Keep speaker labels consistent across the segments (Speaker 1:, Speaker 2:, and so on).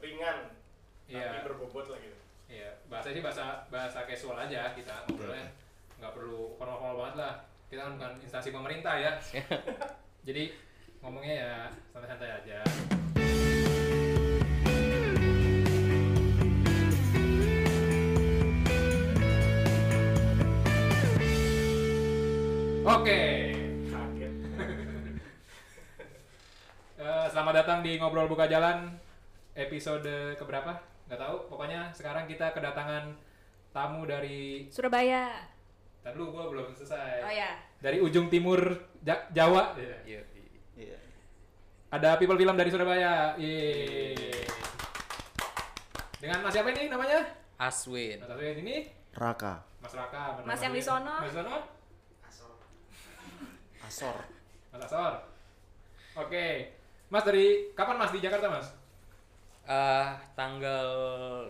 Speaker 1: ringan tapi
Speaker 2: Iya.
Speaker 1: berbobot lah gitu
Speaker 2: Iya, bahasa ini bahasa bahasa casual aja kita ngobrolnya. Nggak perlu formal-formal banget lah. Kita kan bukan instansi pemerintah ya. Jadi ngomongnya ya santai-santai aja. Oke.
Speaker 1: kaget
Speaker 2: Eh, selamat datang di Ngobrol Buka Jalan episode keberapa? Nggak tahu. Pokoknya sekarang kita kedatangan tamu dari
Speaker 3: Surabaya.
Speaker 2: Ntar dulu gue belum selesai.
Speaker 3: Oh ya.
Speaker 2: Dari ujung timur Ja- Jawa
Speaker 4: Iya. Iya.
Speaker 2: ada People Film dari Surabaya. Yeay. Dengan Mas siapa ini namanya?
Speaker 4: Aswin.
Speaker 2: Mas Aswin ini
Speaker 5: Raka,
Speaker 2: Mas Raka. bener,
Speaker 3: Iya. Mas yang di
Speaker 2: Aswin.
Speaker 3: sono.
Speaker 2: Mas di sono?
Speaker 5: Asor,
Speaker 2: Mas Asor. Oke. Mas dari kapan Mas di Jakarta Mas?
Speaker 4: Eh, tanggal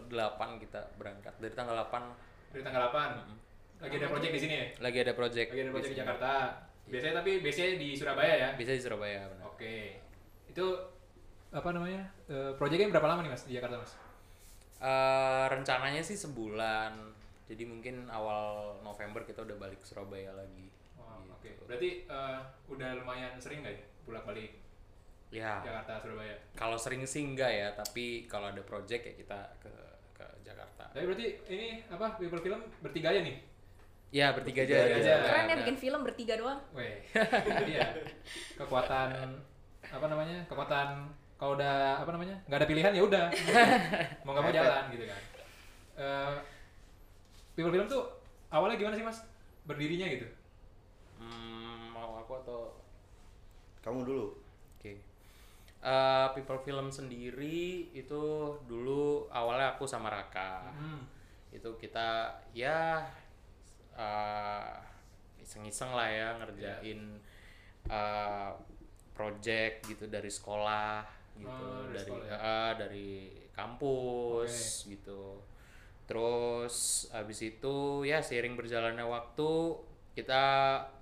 Speaker 4: 8 kita berangkat. Dari tanggal 8
Speaker 2: Dari tanggal 8. Lagi ada project di sini ya?
Speaker 4: lagi ada
Speaker 3: Iya.
Speaker 4: project.
Speaker 2: Lagi ada project di
Speaker 4: sini.
Speaker 2: Jakarta. Biasanya tapi biasanya di Surabaya ya?
Speaker 3: Iya.
Speaker 4: Bisa di Surabaya benar.
Speaker 2: Oke. Itu apa namanya? Eh, projectnya berapa lama nih Mas di Jakarta Mas?
Speaker 4: Eh, rencananya sih sebulan. Jadi mungkin awal November kita udah balik Surabaya lagi.
Speaker 2: Wow, oke.
Speaker 4: Gitu.
Speaker 2: Berarti eh, udah lumayan sering nggak ya bolak-balik
Speaker 4: Ya,
Speaker 2: Jakarta Surabaya?
Speaker 4: kalau sering sih enggak ya, tapi kalau ada project ya kita ke ke Jakarta.
Speaker 2: Tapi berarti ini apa people film bertiga aja nih?
Speaker 4: Ya, bertiga, aja.
Speaker 5: Bertiga aja.
Speaker 4: Nah,
Speaker 3: Keren ya
Speaker 4: nah.
Speaker 3: bikin film bertiga doang.
Speaker 2: Weh, iya. Kekuatan apa namanya? Kekuatan kalau udah apa namanya? nggak ada pilihan ya udah. mau nggak mau jalan gitu kan. Eh, people film tuh awalnya gimana sih mas? Berdirinya gitu?
Speaker 4: Hmm, mau aku atau
Speaker 5: kamu dulu.
Speaker 4: Oke. Eh, People Film sendiri itu dulu awalnya aku sama Raka.
Speaker 2: Hmm.
Speaker 4: Itu kita ya eh, iseng-iseng lah ya ngerjain
Speaker 2: Iya.
Speaker 4: eh, project gitu dari sekolah gitu,
Speaker 2: Oh, dari
Speaker 4: dari
Speaker 2: sekolah ya.
Speaker 4: eh, dari kampus gitu. Terus abis itu ya seiring berjalannya waktu kita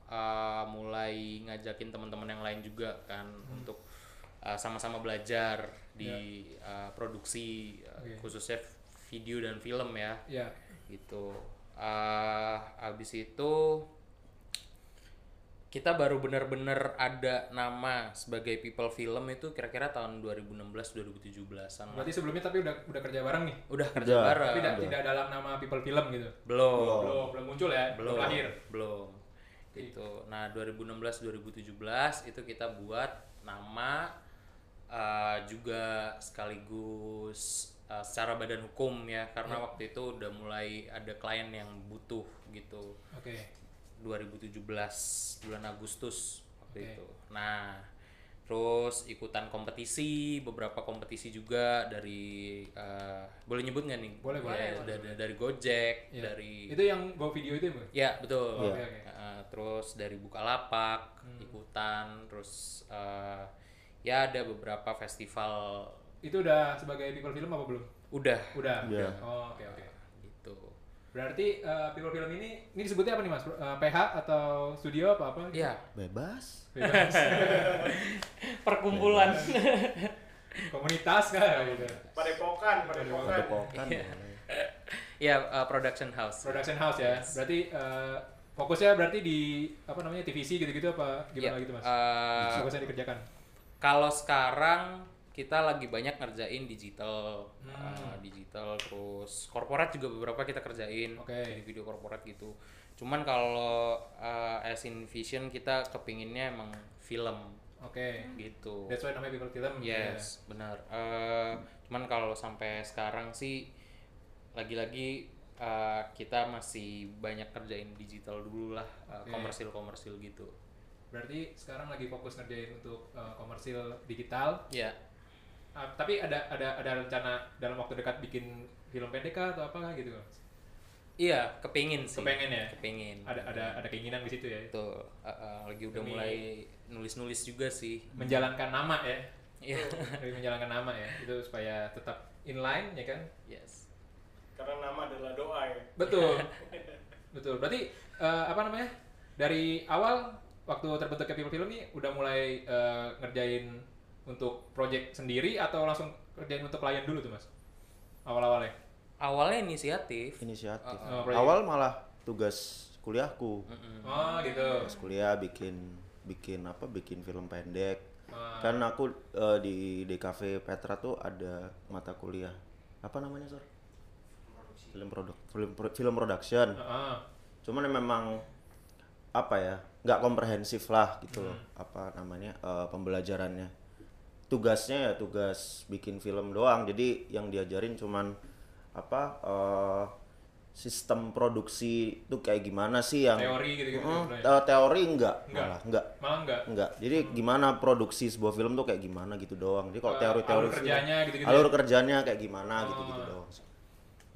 Speaker 4: uh, mulai ngajakin teman-teman yang lain juga kan
Speaker 2: Hmm.
Speaker 4: untuk uh, sama-sama belajar di uh, produksi uh,
Speaker 2: Iya. Oke.
Speaker 4: khususnya f- video dan film ya
Speaker 2: Ya.
Speaker 4: gitu. ah abis itu kita baru bener-bener ada nama sebagai people film itu kira-kira tahun 2016-2017an lah.
Speaker 2: Berarti sebelumnya tapi udah udah kerja bareng nih?
Speaker 4: Ah. Udah kerja bareng.
Speaker 2: Tapi tidak tidak dalam nama people film gitu?
Speaker 4: Belum.
Speaker 2: Belum belum muncul ya?
Speaker 4: belum
Speaker 2: lahir.
Speaker 4: belum gitu nah 2016 2017 itu kita buat nama eh, juga sekaligus eh, secara badan hukum ya
Speaker 2: Hmm.
Speaker 4: karena waktu itu udah mulai ada klien yang butuh gitu
Speaker 2: Oke.
Speaker 4: 2017 bulan Agustus waktu
Speaker 2: Oke.
Speaker 4: itu nah terus ikutan kompetisi beberapa kompetisi juga dari eh, boleh nyebut nggak nih
Speaker 2: Boleh, boleh.
Speaker 4: Ya, da- da- dari Gojek
Speaker 2: Iya.
Speaker 4: dari
Speaker 2: itu yang go video itu ya Bu?
Speaker 4: Ya betul.
Speaker 2: Oke, oke.
Speaker 4: Uh, terus dari Bukalapak,
Speaker 2: Hmm.
Speaker 4: ikutan, terus uh, ya ada beberapa festival
Speaker 2: itu udah sebagai people film apa belum
Speaker 4: udah
Speaker 2: udah
Speaker 5: Iya.
Speaker 2: oh, oke oke
Speaker 4: gitu.
Speaker 2: berarti eh, people film ini ini disebutnya apa nih mas Eh, PH atau studio apa apa
Speaker 4: Ya
Speaker 5: Bebas.
Speaker 2: bebas
Speaker 4: perkumpulan.
Speaker 2: komunitas kan
Speaker 4: Iya.
Speaker 2: gitu
Speaker 1: padepokan
Speaker 2: Iya,
Speaker 1: padepokan
Speaker 5: Depokan boleh.
Speaker 4: ya uh, production house.
Speaker 2: production house ya berarti eh, fokusnya berarti di apa namanya TVC gitu-gitu apa
Speaker 4: Ya,
Speaker 2: gimana gitu mas
Speaker 4: uh,
Speaker 2: fokusnya dikerjakan
Speaker 4: kalau sekarang kita lagi banyak ngerjain digital,
Speaker 2: Hmm.
Speaker 4: uh, digital terus korporat juga beberapa kita kerjain
Speaker 2: Oke.
Speaker 4: jadi video korporat gitu. Cuman kalau uh, as in vision kita kepinginnya emang film
Speaker 2: oke
Speaker 4: gitu.
Speaker 2: that's why namanya people film Iya.
Speaker 4: Yes, benar. Eh, cuman kalau sampai sekarang sih lagi-lagi eh, kita masih banyak kerjain digital dulu lah, eh,
Speaker 2: Oke.
Speaker 4: komersil-komersil gitu.
Speaker 2: Ya. berarti sekarang lagi fokus ngerjain untuk eh, komersil digital
Speaker 4: Ya,
Speaker 2: Ah, tapi ada ada ada rencana dalam waktu dekat bikin film pendek kah atau apa gitu Mas?
Speaker 4: iya, kepingin sih.
Speaker 2: Kepengen ya?
Speaker 4: Kepingin.
Speaker 2: ada ada ada keinginan di situ ya
Speaker 4: Betul. Eh, eh, lagi udah
Speaker 2: Demi-
Speaker 4: mulai nulis-nulis juga sih.
Speaker 2: menjalankan nama ya
Speaker 4: Iya.
Speaker 2: lebih menjalankan nama ya itu supaya tetap inline ya kan
Speaker 4: Iya. yes.
Speaker 1: karena nama adalah doa ya
Speaker 2: betul betul berarti eh, apa namanya dari awal waktu terbentuknya people film ini udah mulai eh, ngerjain untuk project sendiri atau langsung kerjaan untuk klien dulu tuh mas ya? awal-awalnya
Speaker 4: awalnya inisiatif
Speaker 5: Inisiatif.
Speaker 2: Oh, proyek.
Speaker 5: Awal malah tugas kuliahku.
Speaker 2: oh gitu
Speaker 5: Pas kuliah bikin bikin apa? Bikin film pendek.
Speaker 2: Ah.
Speaker 5: Kan aku eh, di DKV Petra tuh ada mata kuliah. Apa namanya, Sor? Film produk film, pro- film production.
Speaker 2: Heeh.
Speaker 5: cuman ya memang apa ya nggak komprehensif lah gitu loh
Speaker 2: Hmm.
Speaker 5: apa namanya eh, pembelajarannya tugasnya ya tugas bikin film doang jadi yang diajarin cuman apa eh, sistem produksi itu kayak gimana sih yang
Speaker 2: teori gitu-gitu
Speaker 5: Mm,
Speaker 2: sebenarnya.
Speaker 5: eh, teori enggak
Speaker 2: Nggak.
Speaker 5: malah enggak
Speaker 2: malah enggak
Speaker 5: enggak jadi gimana produksi sebuah film tuh kayak gimana gitu doang jadi kalau
Speaker 2: Eh,
Speaker 5: teori-teori
Speaker 2: alur
Speaker 5: sih- ya.
Speaker 2: kerjanya gitu-gitu ya.
Speaker 5: alur kerjanya kayak gimana gitu gitu
Speaker 2: Oh.
Speaker 5: doang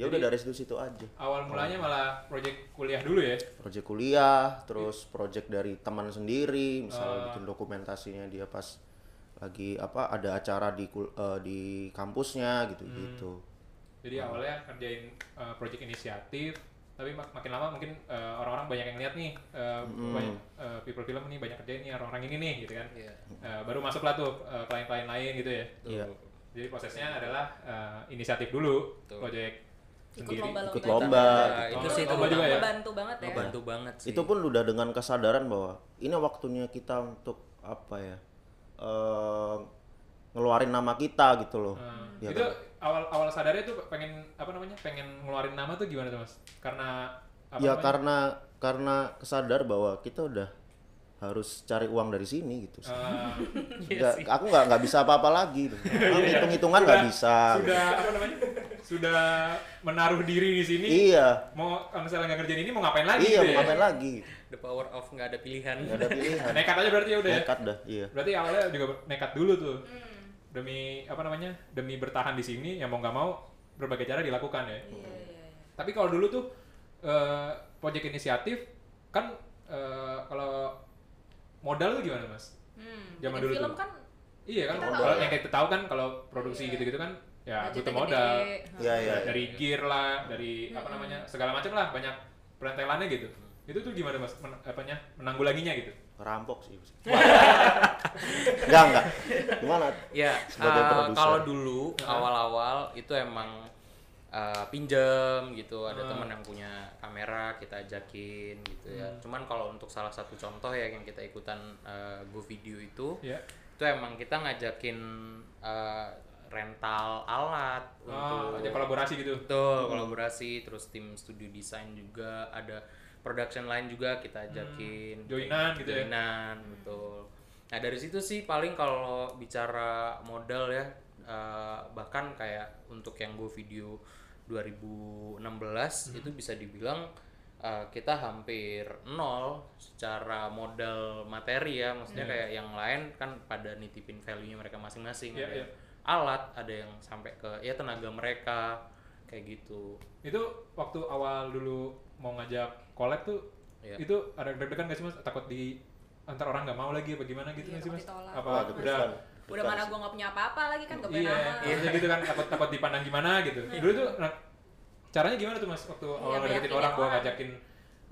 Speaker 5: ya udah dari situ situ aja
Speaker 2: awal mulanya malah project kuliah dulu ya
Speaker 5: Project kuliah, terus project dari teman sendiri, misalnya bikin dokumentasinya dia pas lagi apa ada acara di kul- eh, di kampusnya gitu, gitu-gitu.
Speaker 2: jadi
Speaker 5: Hmm.
Speaker 2: awalnya kerjain uh, project inisiatif tapi mak- makin lama mungkin uh, orang-orang banyak yang lihat nih uh,
Speaker 5: Hmm.
Speaker 2: banyak uh, people film nih banyak kerjain nih orang-orang ini nih gitu kan
Speaker 4: Iya.
Speaker 2: Uh, baru masuklah tuh uh, klien-klien lain gitu ya
Speaker 5: Iya.
Speaker 2: jadi prosesnya adalah uh, inisiatif dulu
Speaker 4: Betul.
Speaker 2: project
Speaker 3: Ikut
Speaker 2: sendiri
Speaker 3: lomba-lomba.
Speaker 5: Ikut
Speaker 3: juga.
Speaker 5: lomba.
Speaker 4: Nah,
Speaker 5: gitu.
Speaker 4: itu
Speaker 2: Oh,
Speaker 4: sih
Speaker 2: lomba juga ya?
Speaker 3: Membantu banget ya.
Speaker 4: Bantu banget Iya, sih.
Speaker 5: Itu pun udah dengan kesadaran bahwa ini waktunya kita untuk apa ya? eh, ngeluarin nama kita gitu loh.
Speaker 2: Hmm.
Speaker 5: Ya
Speaker 2: itu
Speaker 5: kan?
Speaker 2: awal awal sadarnya tuh pengen apa namanya pengen ngeluarin nama tuh gimana tuh mas karena apa
Speaker 5: ya
Speaker 2: namanya?
Speaker 5: karena karena kesadar bahwa kita udah harus cari uang dari sini gitu.
Speaker 2: Eh,
Speaker 5: Nggak- aku nggak nggak bisa apa-apa lagi. Hitung-hitungan nggak bisa.
Speaker 2: Iya. sudah apa namanya sudah menaruh diri di sini
Speaker 5: Iya.
Speaker 2: mau kalau misalnya nggak kerjain ini mau ngapain lagi
Speaker 5: iya,
Speaker 2: gitu
Speaker 5: mau
Speaker 2: ya?
Speaker 5: ngapain lagi?
Speaker 4: The power of nggak ada pilihan.
Speaker 2: Iya.
Speaker 5: Gak ada pilihan.
Speaker 2: nekat aja berarti ya udah ya
Speaker 5: Nekat dah, iya.
Speaker 2: berarti awalnya juga nekat dulu tuh
Speaker 3: Hmm.
Speaker 2: demi apa namanya demi bertahan di sini ya mau nggak mau berbagai cara dilakukan ya
Speaker 3: Iya, iya, iya.
Speaker 2: tapi kalau dulu tuh eh, project inisiatif kan eh, kalau modal tuh gimana mas
Speaker 3: Hmm,
Speaker 2: Zaman
Speaker 3: bikin
Speaker 2: dulu
Speaker 3: film
Speaker 2: tuh.
Speaker 3: kan
Speaker 2: Iya kan
Speaker 3: Kita
Speaker 2: modal
Speaker 3: tahu ya.
Speaker 2: yang kita tahu kan kalau produksi
Speaker 3: Iya.
Speaker 2: gitu-gitu kan ya
Speaker 3: budgetnya
Speaker 2: butuh
Speaker 3: gede.
Speaker 2: modal
Speaker 5: Iya, iya.
Speaker 2: Nah, dari gear lah dari apa namanya segala macam lah banyak perentelannya gitu itu tuh gimana mas Men, apanya menanggulanginya gitu
Speaker 5: Rampok sih. Enggak, enggak. Gimana?
Speaker 4: Ya,
Speaker 5: Sebagai
Speaker 4: eh,
Speaker 5: produser.
Speaker 4: kalau dulu awal-awal itu emang eh, pinjem gitu, ada teman yang punya kamera kita ajakin gitu ya.
Speaker 2: Hmm.
Speaker 4: Cuman kalau untuk salah satu contoh ya yang kita ikutan eh, Go Video itu,
Speaker 2: ya
Speaker 4: itu emang kita ngajakin eh, rental alat
Speaker 2: oh, ada
Speaker 4: untuk
Speaker 2: kolaborasi gitu
Speaker 4: betul kolaborasi, terus tim studio desain juga ada production lain juga kita ajakin
Speaker 2: Joinan gitu ya?
Speaker 4: Joinan, betul nah dari situ sih paling kalau bicara modal ya eh, bahkan kayak untuk yang go video 2016
Speaker 2: Hmm.
Speaker 4: itu bisa dibilang eh, kita hampir nol secara modal materi ya maksudnya
Speaker 2: Hmm.
Speaker 4: kayak yang lain kan pada nitipin value-nya mereka masing-masing
Speaker 2: Iya,
Speaker 4: ada
Speaker 2: iya.
Speaker 4: yang alat ada yang sampai ke ya tenaga mereka kayak gitu
Speaker 2: itu waktu awal dulu mau ngajak collab tuh
Speaker 4: Iya.
Speaker 2: itu ada deg-degan gak sih mas takut di antar orang nggak mau lagi apa gimana gitu nggak
Speaker 3: Iya,
Speaker 2: sih
Speaker 3: takut
Speaker 2: mas
Speaker 3: ditolak.
Speaker 2: apa
Speaker 5: Wah,
Speaker 2: udah
Speaker 5: depan.
Speaker 3: Udah mana gua nggak punya apa-apa lagi kan nggak
Speaker 2: iya
Speaker 3: punya nama.
Speaker 2: maksudnya gitu kan takut takut dipandang gimana gitu
Speaker 3: Iya.
Speaker 2: dulu tuh nah, caranya gimana tuh mas waktu awal ngedeketin
Speaker 3: meyakinin
Speaker 2: orang gua
Speaker 3: orang.
Speaker 2: ngajakin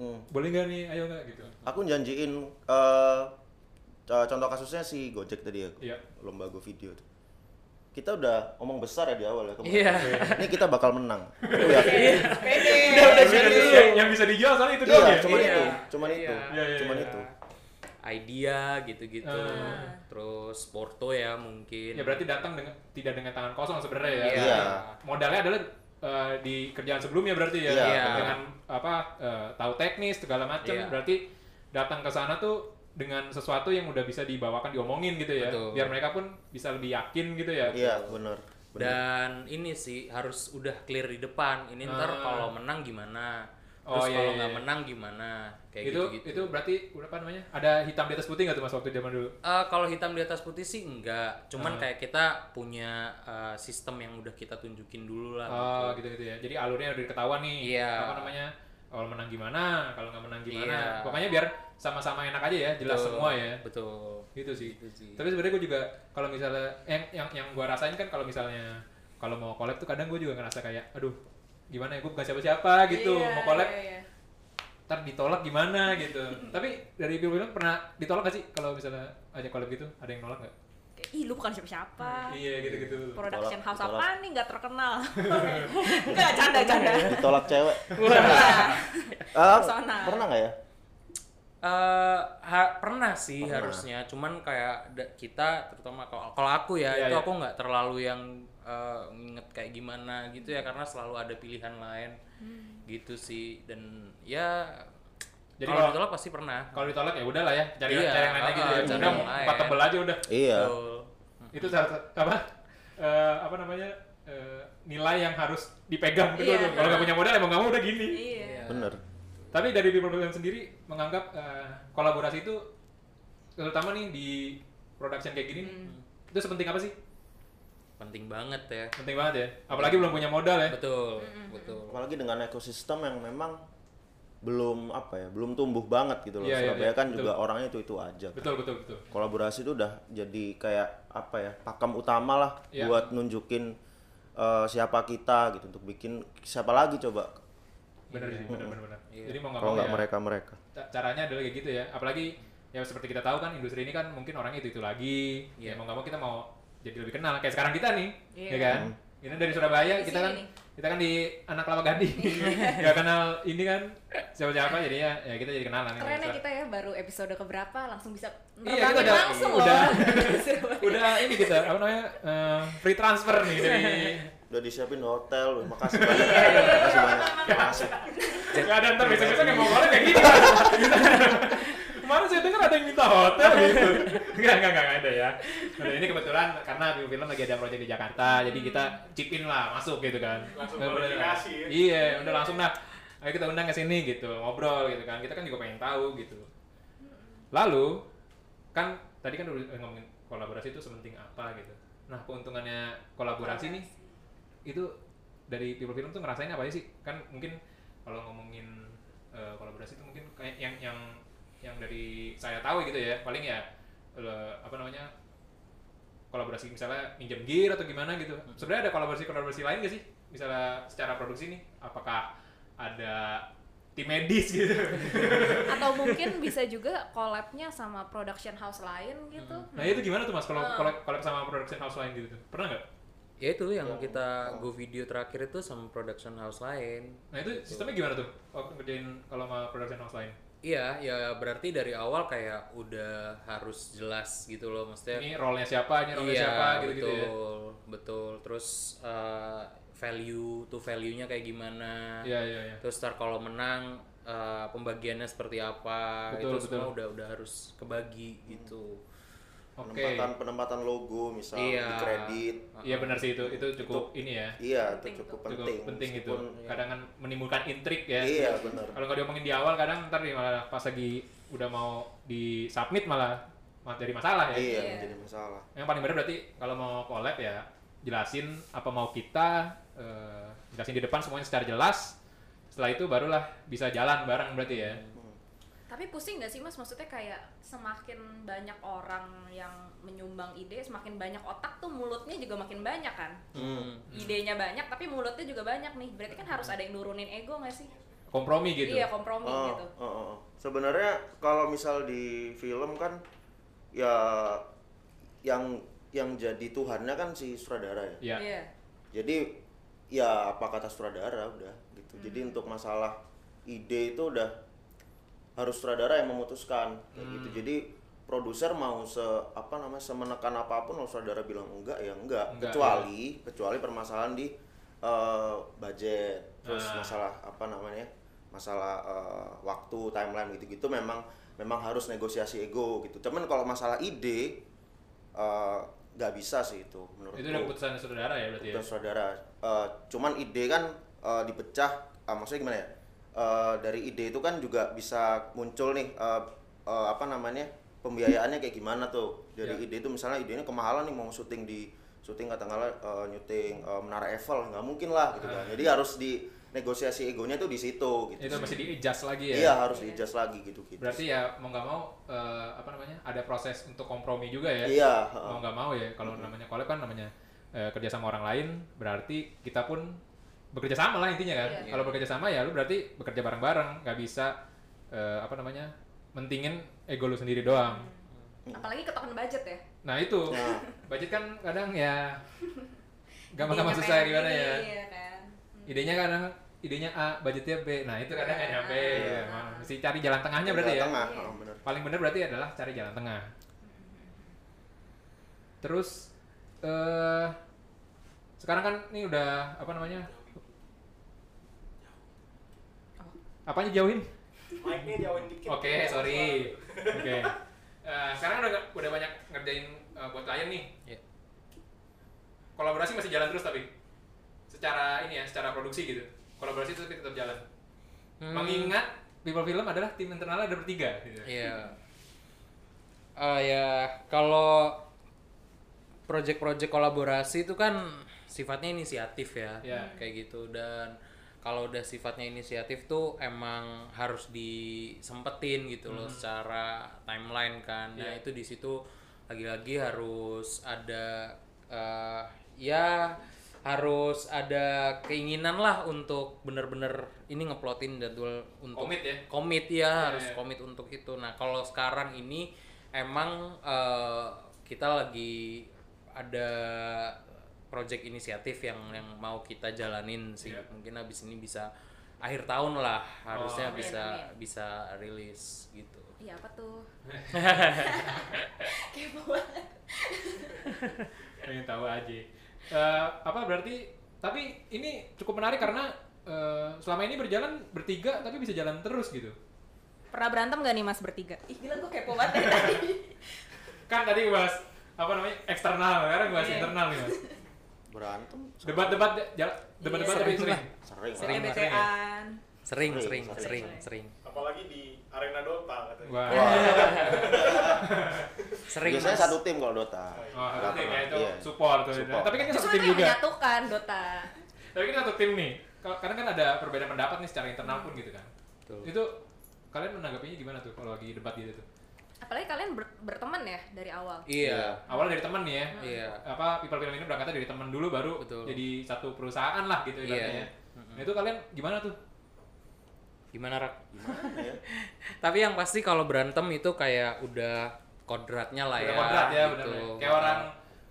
Speaker 5: Hmm.
Speaker 2: boleh nggak nih ayo nggak gitu
Speaker 5: Aku janjiin eh eh, contoh kasusnya si Gojek tadi ya.
Speaker 2: Iya.
Speaker 5: Lomba Go Video tuh. Kita udah omong besar ya di awal ya kemarin.
Speaker 4: Iya.
Speaker 5: Ini kita bakal menang. Aku
Speaker 2: Iya.
Speaker 4: Iya,
Speaker 5: yakin.
Speaker 4: Udah, udah,
Speaker 2: Yang
Speaker 4: serius.
Speaker 2: bisa- yang bisa dijual soalnya itu doang
Speaker 5: Iya,
Speaker 2: ya
Speaker 5: cuman
Speaker 4: Iya.
Speaker 5: itu, cuman
Speaker 4: Iya.
Speaker 5: itu,
Speaker 2: Iya, iya,
Speaker 5: cuman
Speaker 2: iya.
Speaker 5: itu.
Speaker 4: idea gitu-gitu
Speaker 2: Ah.
Speaker 4: terus porto ya mungkin
Speaker 2: ya berarti datang dengan tidak dengan tangan kosong sebenarnya ya
Speaker 4: Iya.
Speaker 5: Iya.
Speaker 2: modalnya adalah eh, di kerjaan sebelumnya berarti ya
Speaker 5: Iya.
Speaker 4: Iya.
Speaker 2: dengan apa eh, tahu teknis segala macam
Speaker 4: Iya.
Speaker 2: berarti datang ke sana tuh dengan sesuatu yang udah bisa dibawakan diomongin gitu ya
Speaker 4: Betul.
Speaker 2: biar mereka pun bisa lebih yakin gitu ya
Speaker 5: Iya, benar.
Speaker 4: dan ini sih harus udah clear di depan ini ntar
Speaker 2: Ah.
Speaker 4: kalau menang gimana
Speaker 2: Oh,
Speaker 4: terus
Speaker 2: iya,
Speaker 4: kalau
Speaker 2: iya,
Speaker 4: nggak
Speaker 2: iya.
Speaker 4: menang gimana kayak
Speaker 2: itu
Speaker 4: gitu
Speaker 2: itu berarti apa namanya ada hitam di atas putih nggak tuh mas waktu zaman dulu
Speaker 4: Eh, kalau hitam di atas putih sih enggak
Speaker 2: Ah.
Speaker 4: cuman kayak kita punya eh, sistem yang udah kita tunjukin dulu lah
Speaker 2: Oh, gitu-gitu ya. Jadi alurnya udah ketahuan nih.
Speaker 4: Iya.
Speaker 2: Apa namanya? Kalau menang gimana, kalau nggak menang gimana.
Speaker 4: Iya.
Speaker 2: Pokoknya biar sama-sama enak aja ya, jelas
Speaker 4: Betul,
Speaker 2: semua ya.
Speaker 4: betul
Speaker 2: Gitu sih.
Speaker 4: Gitu sih.
Speaker 2: Tapi sebenarnya gue juga kalau misalnya yang yang yang gue rasain kan kalau misalnya kalau mau collab tuh kadang gue juga ngerasa kayak aduh gimana ya gue bukan siapa-siapa gitu
Speaker 3: Iya,
Speaker 2: mau collab
Speaker 3: iya, iya.
Speaker 2: ntar ditolak gimana gitu tapi dari film film pernah ditolak gak sih kalau misalnya ajak collab gitu ada yang nolak nggak
Speaker 3: kayak, ih lu bukan siapa-siapa
Speaker 2: Iya gitu-gitu.
Speaker 3: production
Speaker 5: Ditolak,
Speaker 3: house
Speaker 5: ditolak.
Speaker 3: apaan nih nggak terkenal nggak canda
Speaker 2: ya?
Speaker 3: canda Iya.
Speaker 5: ditolak cewek
Speaker 3: Nah,
Speaker 5: Ah,
Speaker 3: Pesona.
Speaker 5: pernah nggak ya
Speaker 4: eh ha- pernah sih
Speaker 5: Pernah.
Speaker 4: harusnya, cuman kayak da- kita terutama kalau kalau aku ya
Speaker 2: Iya,
Speaker 4: itu
Speaker 2: iya.
Speaker 4: aku nggak terlalu yang eh, nginget kayak gimana gitu ya karena selalu ada pilihan lain gitu sih dan ya
Speaker 2: Jadi
Speaker 4: kalau
Speaker 2: kalau-
Speaker 4: ditolak pasti pernah.
Speaker 2: Kalau ditolak ya udahlah ya, cari
Speaker 4: Iya,
Speaker 2: cari yang lain aja
Speaker 4: ah,
Speaker 2: gitu.
Speaker 4: cari
Speaker 2: Udah
Speaker 4: yang lain.
Speaker 2: empat tebel aja udah.
Speaker 5: iya
Speaker 4: Betul.
Speaker 2: Itu salah satu- apa? eh, apa namanya? eh, nilai yang harus dipegang gitu
Speaker 3: Iya.
Speaker 2: tuh. Kalau nggak punya modal emang nggak mau udah gini.
Speaker 3: iya
Speaker 5: bener
Speaker 2: Tapi dari People Problem sendiri menganggap eh, kolaborasi itu terutama nih di production kayak gini
Speaker 3: Hmm.
Speaker 2: itu sepenting apa sih?
Speaker 4: Penting banget ya.
Speaker 2: Penting banget ya. Apalagi belum punya modal ya.
Speaker 4: Betul, betul.
Speaker 5: apalagi dengan ekosistem yang memang belum apa ya belum tumbuh banget gitu loh
Speaker 2: Iya, iya,
Speaker 5: Surabaya
Speaker 2: iya,
Speaker 5: kan
Speaker 2: betul.
Speaker 5: juga orangnya itu itu aja kan.
Speaker 2: Betul betul betul.
Speaker 5: kolaborasi itu udah jadi kayak apa ya pakem utama lah
Speaker 2: Iya.
Speaker 5: buat nunjukin eh, siapa kita gitu untuk bikin siapa lagi coba
Speaker 2: Bener
Speaker 3: Iya.
Speaker 2: sih, bener bener bener. Jadi mau nggak
Speaker 5: kalau
Speaker 2: mau
Speaker 5: nggak
Speaker 2: ya,
Speaker 5: mereka mereka
Speaker 2: ca- caranya adalah kayak gitu ya. Apalagi ya seperti kita tahu kan industri ini kan mungkin orangnya itu itu lagi. Ya
Speaker 4: Iya.
Speaker 2: mau nggak mau kita mau jadi lebih kenal. Kayak sekarang kita nih,
Speaker 3: Iya.
Speaker 2: ya kan?
Speaker 5: Hmm.
Speaker 2: Ini dari Surabaya
Speaker 3: Di
Speaker 2: kita
Speaker 3: sini
Speaker 2: kan
Speaker 3: nih.
Speaker 2: kita kan di anak Kelapa Gading nggak kenal ini kan siapa siapa jadinya ya kita jadi kenalan nih.
Speaker 3: keren ya kita ya baru episode keberapa langsung bisa
Speaker 2: Iya, kita
Speaker 3: nerbangin
Speaker 2: udah-
Speaker 3: langsung
Speaker 2: udah.
Speaker 3: loh
Speaker 2: udah ini kita apa namanya eh, free transfer nih dari
Speaker 5: udah disiapin hotel makasih banyak makasih banyak makasih
Speaker 2: nggak ada ntar besok besok yang mau kolek kayak gitu kemarin saya dengar ada yang minta hotel gitu nggak nggak nggak nggak ada ya nah, ini kebetulan karena Bio Film lagi ada proyek di Jakarta jadi kita chip in lah masuk gitu kan
Speaker 1: Langsung
Speaker 2: Udah- udah-
Speaker 1: klarifikasi ya.
Speaker 2: iya udah langsung nah ayo kita undang ke sini gitu ngobrol gitu kan kita kan juga pengen tahu gitu lalu kan tadi kan udah ngomongin kolaborasi itu sementing apa gitu nah keuntungannya kolaborasi nih itu dari people film tuh ngerasain apa aja sih kan mungkin kalau ngomongin eh, kolaborasi itu mungkin kayak yang yang yang dari saya tahu gitu ya paling ya eh, apa namanya kolaborasi misalnya minjem gear atau gimana gitu sebenarnya ada kolaborasi kolaborasi lain gak sih misalnya secara produksi nih apakah ada tim medis gitu
Speaker 3: atau mungkin bisa juga collabnya sama production house lain gitu
Speaker 2: nah itu gimana tuh mas kalau
Speaker 3: Hmm.
Speaker 2: collab, collab sama production house lain gitu tuh pernah nggak
Speaker 4: Ya itu yang kita go video terakhir itu sama production house lain.
Speaker 2: nah itu sistemnya gimana tuh kalau ngerjain kalau sama production house lain
Speaker 4: Iya, ya berarti dari awal kayak udah harus jelas gitu loh maksudnya.
Speaker 2: ini role nya siapa ini role nya
Speaker 4: iya,
Speaker 2: siapa gitu gitu
Speaker 4: betul,
Speaker 2: ya
Speaker 4: betul. Terus eh, value to value-nya kayak gimana?
Speaker 2: iya iya iya
Speaker 4: Terus ntar kalau menang eh, pembagiannya seperti apa?
Speaker 2: Betul,
Speaker 4: itu
Speaker 2: betul.
Speaker 4: semua udah udah harus kebagi gitu.
Speaker 2: oke
Speaker 5: penempatan penempatan logo misal
Speaker 4: Iya.
Speaker 5: di kredit
Speaker 2: iya benar sih itu itu cukup ini ya
Speaker 5: iya
Speaker 3: Penting
Speaker 5: itu cukup
Speaker 2: cukup
Speaker 5: penting
Speaker 2: penting itu
Speaker 5: Meskipun-
Speaker 2: kadang kan menimbulkan intrik ya
Speaker 5: iya bener
Speaker 2: kalau nggak diomongin di awal kadang ntar nih malah pas lagi udah mau di submit malah ma- jadi masalah ya
Speaker 5: iya
Speaker 3: Iya.
Speaker 5: menjadi masalah
Speaker 2: yang paling benar berarti kalau mau collab ya jelasin apa mau kita eh, jelasin di depan semuanya secara jelas setelah itu barulah bisa jalan bareng berarti ya
Speaker 3: tapi pusing nggak sih mas maksudnya kayak semakin banyak orang yang menyumbang ide semakin banyak otak tuh mulutnya juga makin banyak kan
Speaker 2: Hmm.
Speaker 3: idenya banyak tapi mulutnya juga banyak nih berarti kan harus ada yang nurunin ego nggak sih
Speaker 2: kompromi gitu
Speaker 3: iya kompromi
Speaker 5: Oh,
Speaker 3: gitu
Speaker 5: oh, oh, oh. Sebenarnya kalau misal di film kan ya yang yang jadi tuhannya kan si sutradara
Speaker 2: Iya.
Speaker 5: ya.
Speaker 3: iya
Speaker 5: Jadi ya apa kata sutradara udah gitu. Jadi untuk masalah ide itu udah harus sutradara yang memutuskan kayak gitu. Jadi produser mau se apa namanya semenekan apapun kalau sutradara bilang enggak ya enggak,
Speaker 2: Enggak,
Speaker 5: kecuali kecuali permasalahan di eh, budget terus
Speaker 2: Ah.
Speaker 5: masalah apa namanya masalah eh, waktu timeline gitu-gitu memang memang harus negosiasi ego gitu cuman kalau masalah ide eh, nggak bisa sih itu menurut
Speaker 2: itu udah keputusan saudara ya berarti ya
Speaker 5: dan saudara eh, cuman ide kan eh, dipecah ah, maksudnya gimana ya Eh, dari ide itu kan juga bisa muncul nih eh, eh, apa namanya pembiayaannya kayak gimana tuh dari
Speaker 2: Ya.
Speaker 5: ide itu misalnya idenya kemahalan nih mau syuting di syuting katakanlah eh, nyuting eh, menara Eiffel nggak mungkin lah gitu kan jadi harus di negosiasi egonya tuh di situ gitu
Speaker 2: Ah. itu
Speaker 5: sih.
Speaker 2: masih di adjust lagi ya
Speaker 5: iya harus di adjust lagi gitu gitu
Speaker 2: berarti ya mau nggak mau eh, apa namanya ada proses untuk kompromi juga ya
Speaker 5: iya heeh.
Speaker 2: mau nggak mau ya kalau namanya collab kan namanya eh, kerja sama orang lain berarti kita pun bekerja sama lah intinya kan
Speaker 3: Iya.
Speaker 2: kalau bekerja sama ya lu berarti bekerja bareng bareng nggak bisa eh, apa namanya mentingin ego lu sendiri doang
Speaker 3: apalagi ketokan budget ya
Speaker 2: Nah itu,
Speaker 5: Mm. Nah.
Speaker 2: budget kan kadang ya gampang-gampang
Speaker 3: Idenya
Speaker 2: susah
Speaker 3: pengen
Speaker 2: gimana
Speaker 3: ini,
Speaker 2: ya.
Speaker 3: iya kan Hmm.
Speaker 2: Idenya kadang idenya A, budgetnya B. Nah itu kadang nggak nyampe.
Speaker 5: Iya.
Speaker 2: Emang. Mesti cari jalan tengahnya berarti ya.
Speaker 5: tengah
Speaker 3: Iya.
Speaker 5: oh, bener.
Speaker 2: Paling benar berarti adalah cari jalan tengah. Terus eh sekarang kan ini udah apa namanya? Apanya jauhin?
Speaker 1: Mic-nya jauhin dikit.
Speaker 2: Oke, sorry. Oke. Eh, sekarang udah udah banyak ngerjain eh, buat klien nih.
Speaker 4: Iya.
Speaker 2: Kolaborasi masih jalan terus tapi secara ini ya, secara produksi gitu. Kolaborasi itu tetap jalan.
Speaker 4: Hmm.
Speaker 2: Mengingat People Film adalah tim internalnya ada bertiga gitu.
Speaker 4: Iya. Ah ya, kalau project-project kolaborasi itu kan sifatnya inisiatif ya,
Speaker 2: Iya.
Speaker 4: kayak gitu dan kalau udah sifatnya inisiatif tuh emang harus disempetin gitu loh secara timeline kan. Nah,
Speaker 2: Hmm. Iya.
Speaker 4: itu di situ lagi-lagi harus ada eh, ya harus ada keinginan lah untuk bener-bener ini ngeplotin jadwal untuk
Speaker 2: Komit ya.
Speaker 4: komit ya
Speaker 2: iya.
Speaker 4: harus komit untuk itu nah kalau sekarang ini emang eh, kita lagi ada project inisiatif yang yang mau kita jalanin sih
Speaker 2: Iya.
Speaker 4: mungkin habis ini bisa akhir tahun lah harusnya
Speaker 2: Oh.
Speaker 3: Amin,
Speaker 4: bisa
Speaker 3: amin.
Speaker 4: bisa rilis gitu
Speaker 3: iya apa tuh kepo banget
Speaker 2: pengen tahu aja Eh, apa berarti tapi ini cukup menarik karena eh, selama ini berjalan bertiga tapi bisa jalan terus gitu
Speaker 3: pernah berantem gak nih mas bertiga ih gila gue kepo banget dari tadi
Speaker 2: kan tadi bahas apa namanya eksternal sekarang bahas
Speaker 3: Iya.
Speaker 2: internal nih mas
Speaker 5: berantem
Speaker 2: debat-debat jalan debat-debat
Speaker 3: Iya.
Speaker 2: tapi sering ya?
Speaker 5: sering lah.
Speaker 4: Sering.
Speaker 3: EBT-an
Speaker 4: sering
Speaker 5: Sering,
Speaker 4: sering
Speaker 5: sering.
Speaker 4: sering sering
Speaker 1: Apalagi di arena Dota katanya.
Speaker 2: wah
Speaker 3: Iya.
Speaker 4: sering
Speaker 5: biasanya
Speaker 4: Mas.
Speaker 5: satu tim kalau Dota
Speaker 2: Wah,
Speaker 5: Nggak
Speaker 2: satu tim ya
Speaker 5: pernah,
Speaker 2: itu
Speaker 5: iya.
Speaker 2: support, tuh.
Speaker 5: Support.
Speaker 2: tapi kan kita
Speaker 3: justru
Speaker 2: satu
Speaker 3: itu
Speaker 2: tim
Speaker 3: yang
Speaker 2: juga
Speaker 3: menyatukan Dota
Speaker 2: tapi kita satu tim nih Kalau- karena kan ada perbedaan pendapat nih secara internal pun gitu kan
Speaker 4: Betul.
Speaker 2: itu kalian menanggapinya gimana tuh kalau lagi debat gitu tuh
Speaker 3: apalagi kalian ber- berteman ya dari awal
Speaker 4: iya
Speaker 2: awalnya dari teman nih ya
Speaker 4: iya
Speaker 2: apa people film ini berangkatnya dari teman dulu baru
Speaker 4: Betul.
Speaker 2: jadi satu perusahaan lah gitu
Speaker 4: Iya.
Speaker 2: ibaratnya. Nah, itu kalian gimana tuh?
Speaker 4: gimana rak
Speaker 5: Gimana ya?
Speaker 4: tapi yang pasti kalau berantem itu kayak udah kodratnya lah
Speaker 2: Udah
Speaker 4: ya
Speaker 2: kodrat ya
Speaker 4: gitu.
Speaker 2: benar. Kayak orang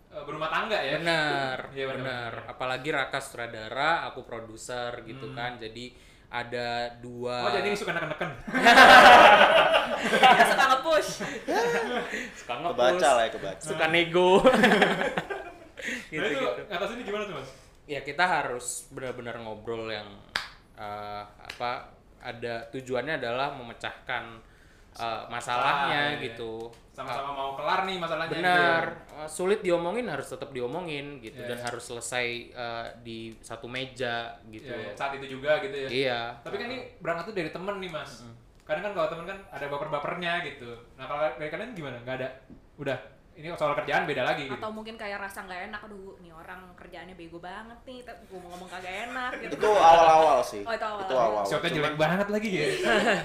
Speaker 2: eh, berumah tangga ya.
Speaker 4: Benar,
Speaker 2: Iya, benar,
Speaker 4: benar. Apalagi Raka sutradara, aku produser gitu kan. Jadi ada dua
Speaker 2: Hmm. Oh, jadi ini suka neken-neken.
Speaker 3: Dia suka nge-push
Speaker 4: suka
Speaker 3: Oh,
Speaker 4: ngepush,
Speaker 5: kebaca lah ya kebaca
Speaker 4: suka nego. gitu,
Speaker 2: nah, itu
Speaker 4: Hmm. gitu.
Speaker 2: ngatasinnya gimana tuh, Mas?
Speaker 4: Ya kita harus benar-benar ngobrol yang eh, apa ada tujuannya adalah memecahkan eh,
Speaker 2: Ah,
Speaker 4: masalahnya
Speaker 2: iya.
Speaker 4: gitu.
Speaker 2: Sama-sama mau kelar nih masalahnya gitu.
Speaker 4: benar Eh, sulit diomongin harus tetap diomongin gitu
Speaker 2: Iya.
Speaker 4: dan harus selesai eh, di satu meja gitu
Speaker 2: Iya, iya. saat itu juga gitu ya.
Speaker 4: iya
Speaker 2: Tapi kan ini berangkat tuh dari temen nih, Mas. Kadang kan kalau temen kan ada baper-bapernya gitu. Nah, kalau dari kalian gimana? Gak ada. Udah. Ini soal kerjaan beda lagi gitu.
Speaker 3: atau mungkin kayak rasa nggak enak aduh nih orang kerjaannya bego banget nih tapi gue mau ngomong kagak enak gitu
Speaker 5: itu awal-awal sih
Speaker 3: Oh, itu awal-awal.
Speaker 5: itu awal-awal
Speaker 2: Shotnya
Speaker 5: Cuman-
Speaker 2: jelek banget lagi ya.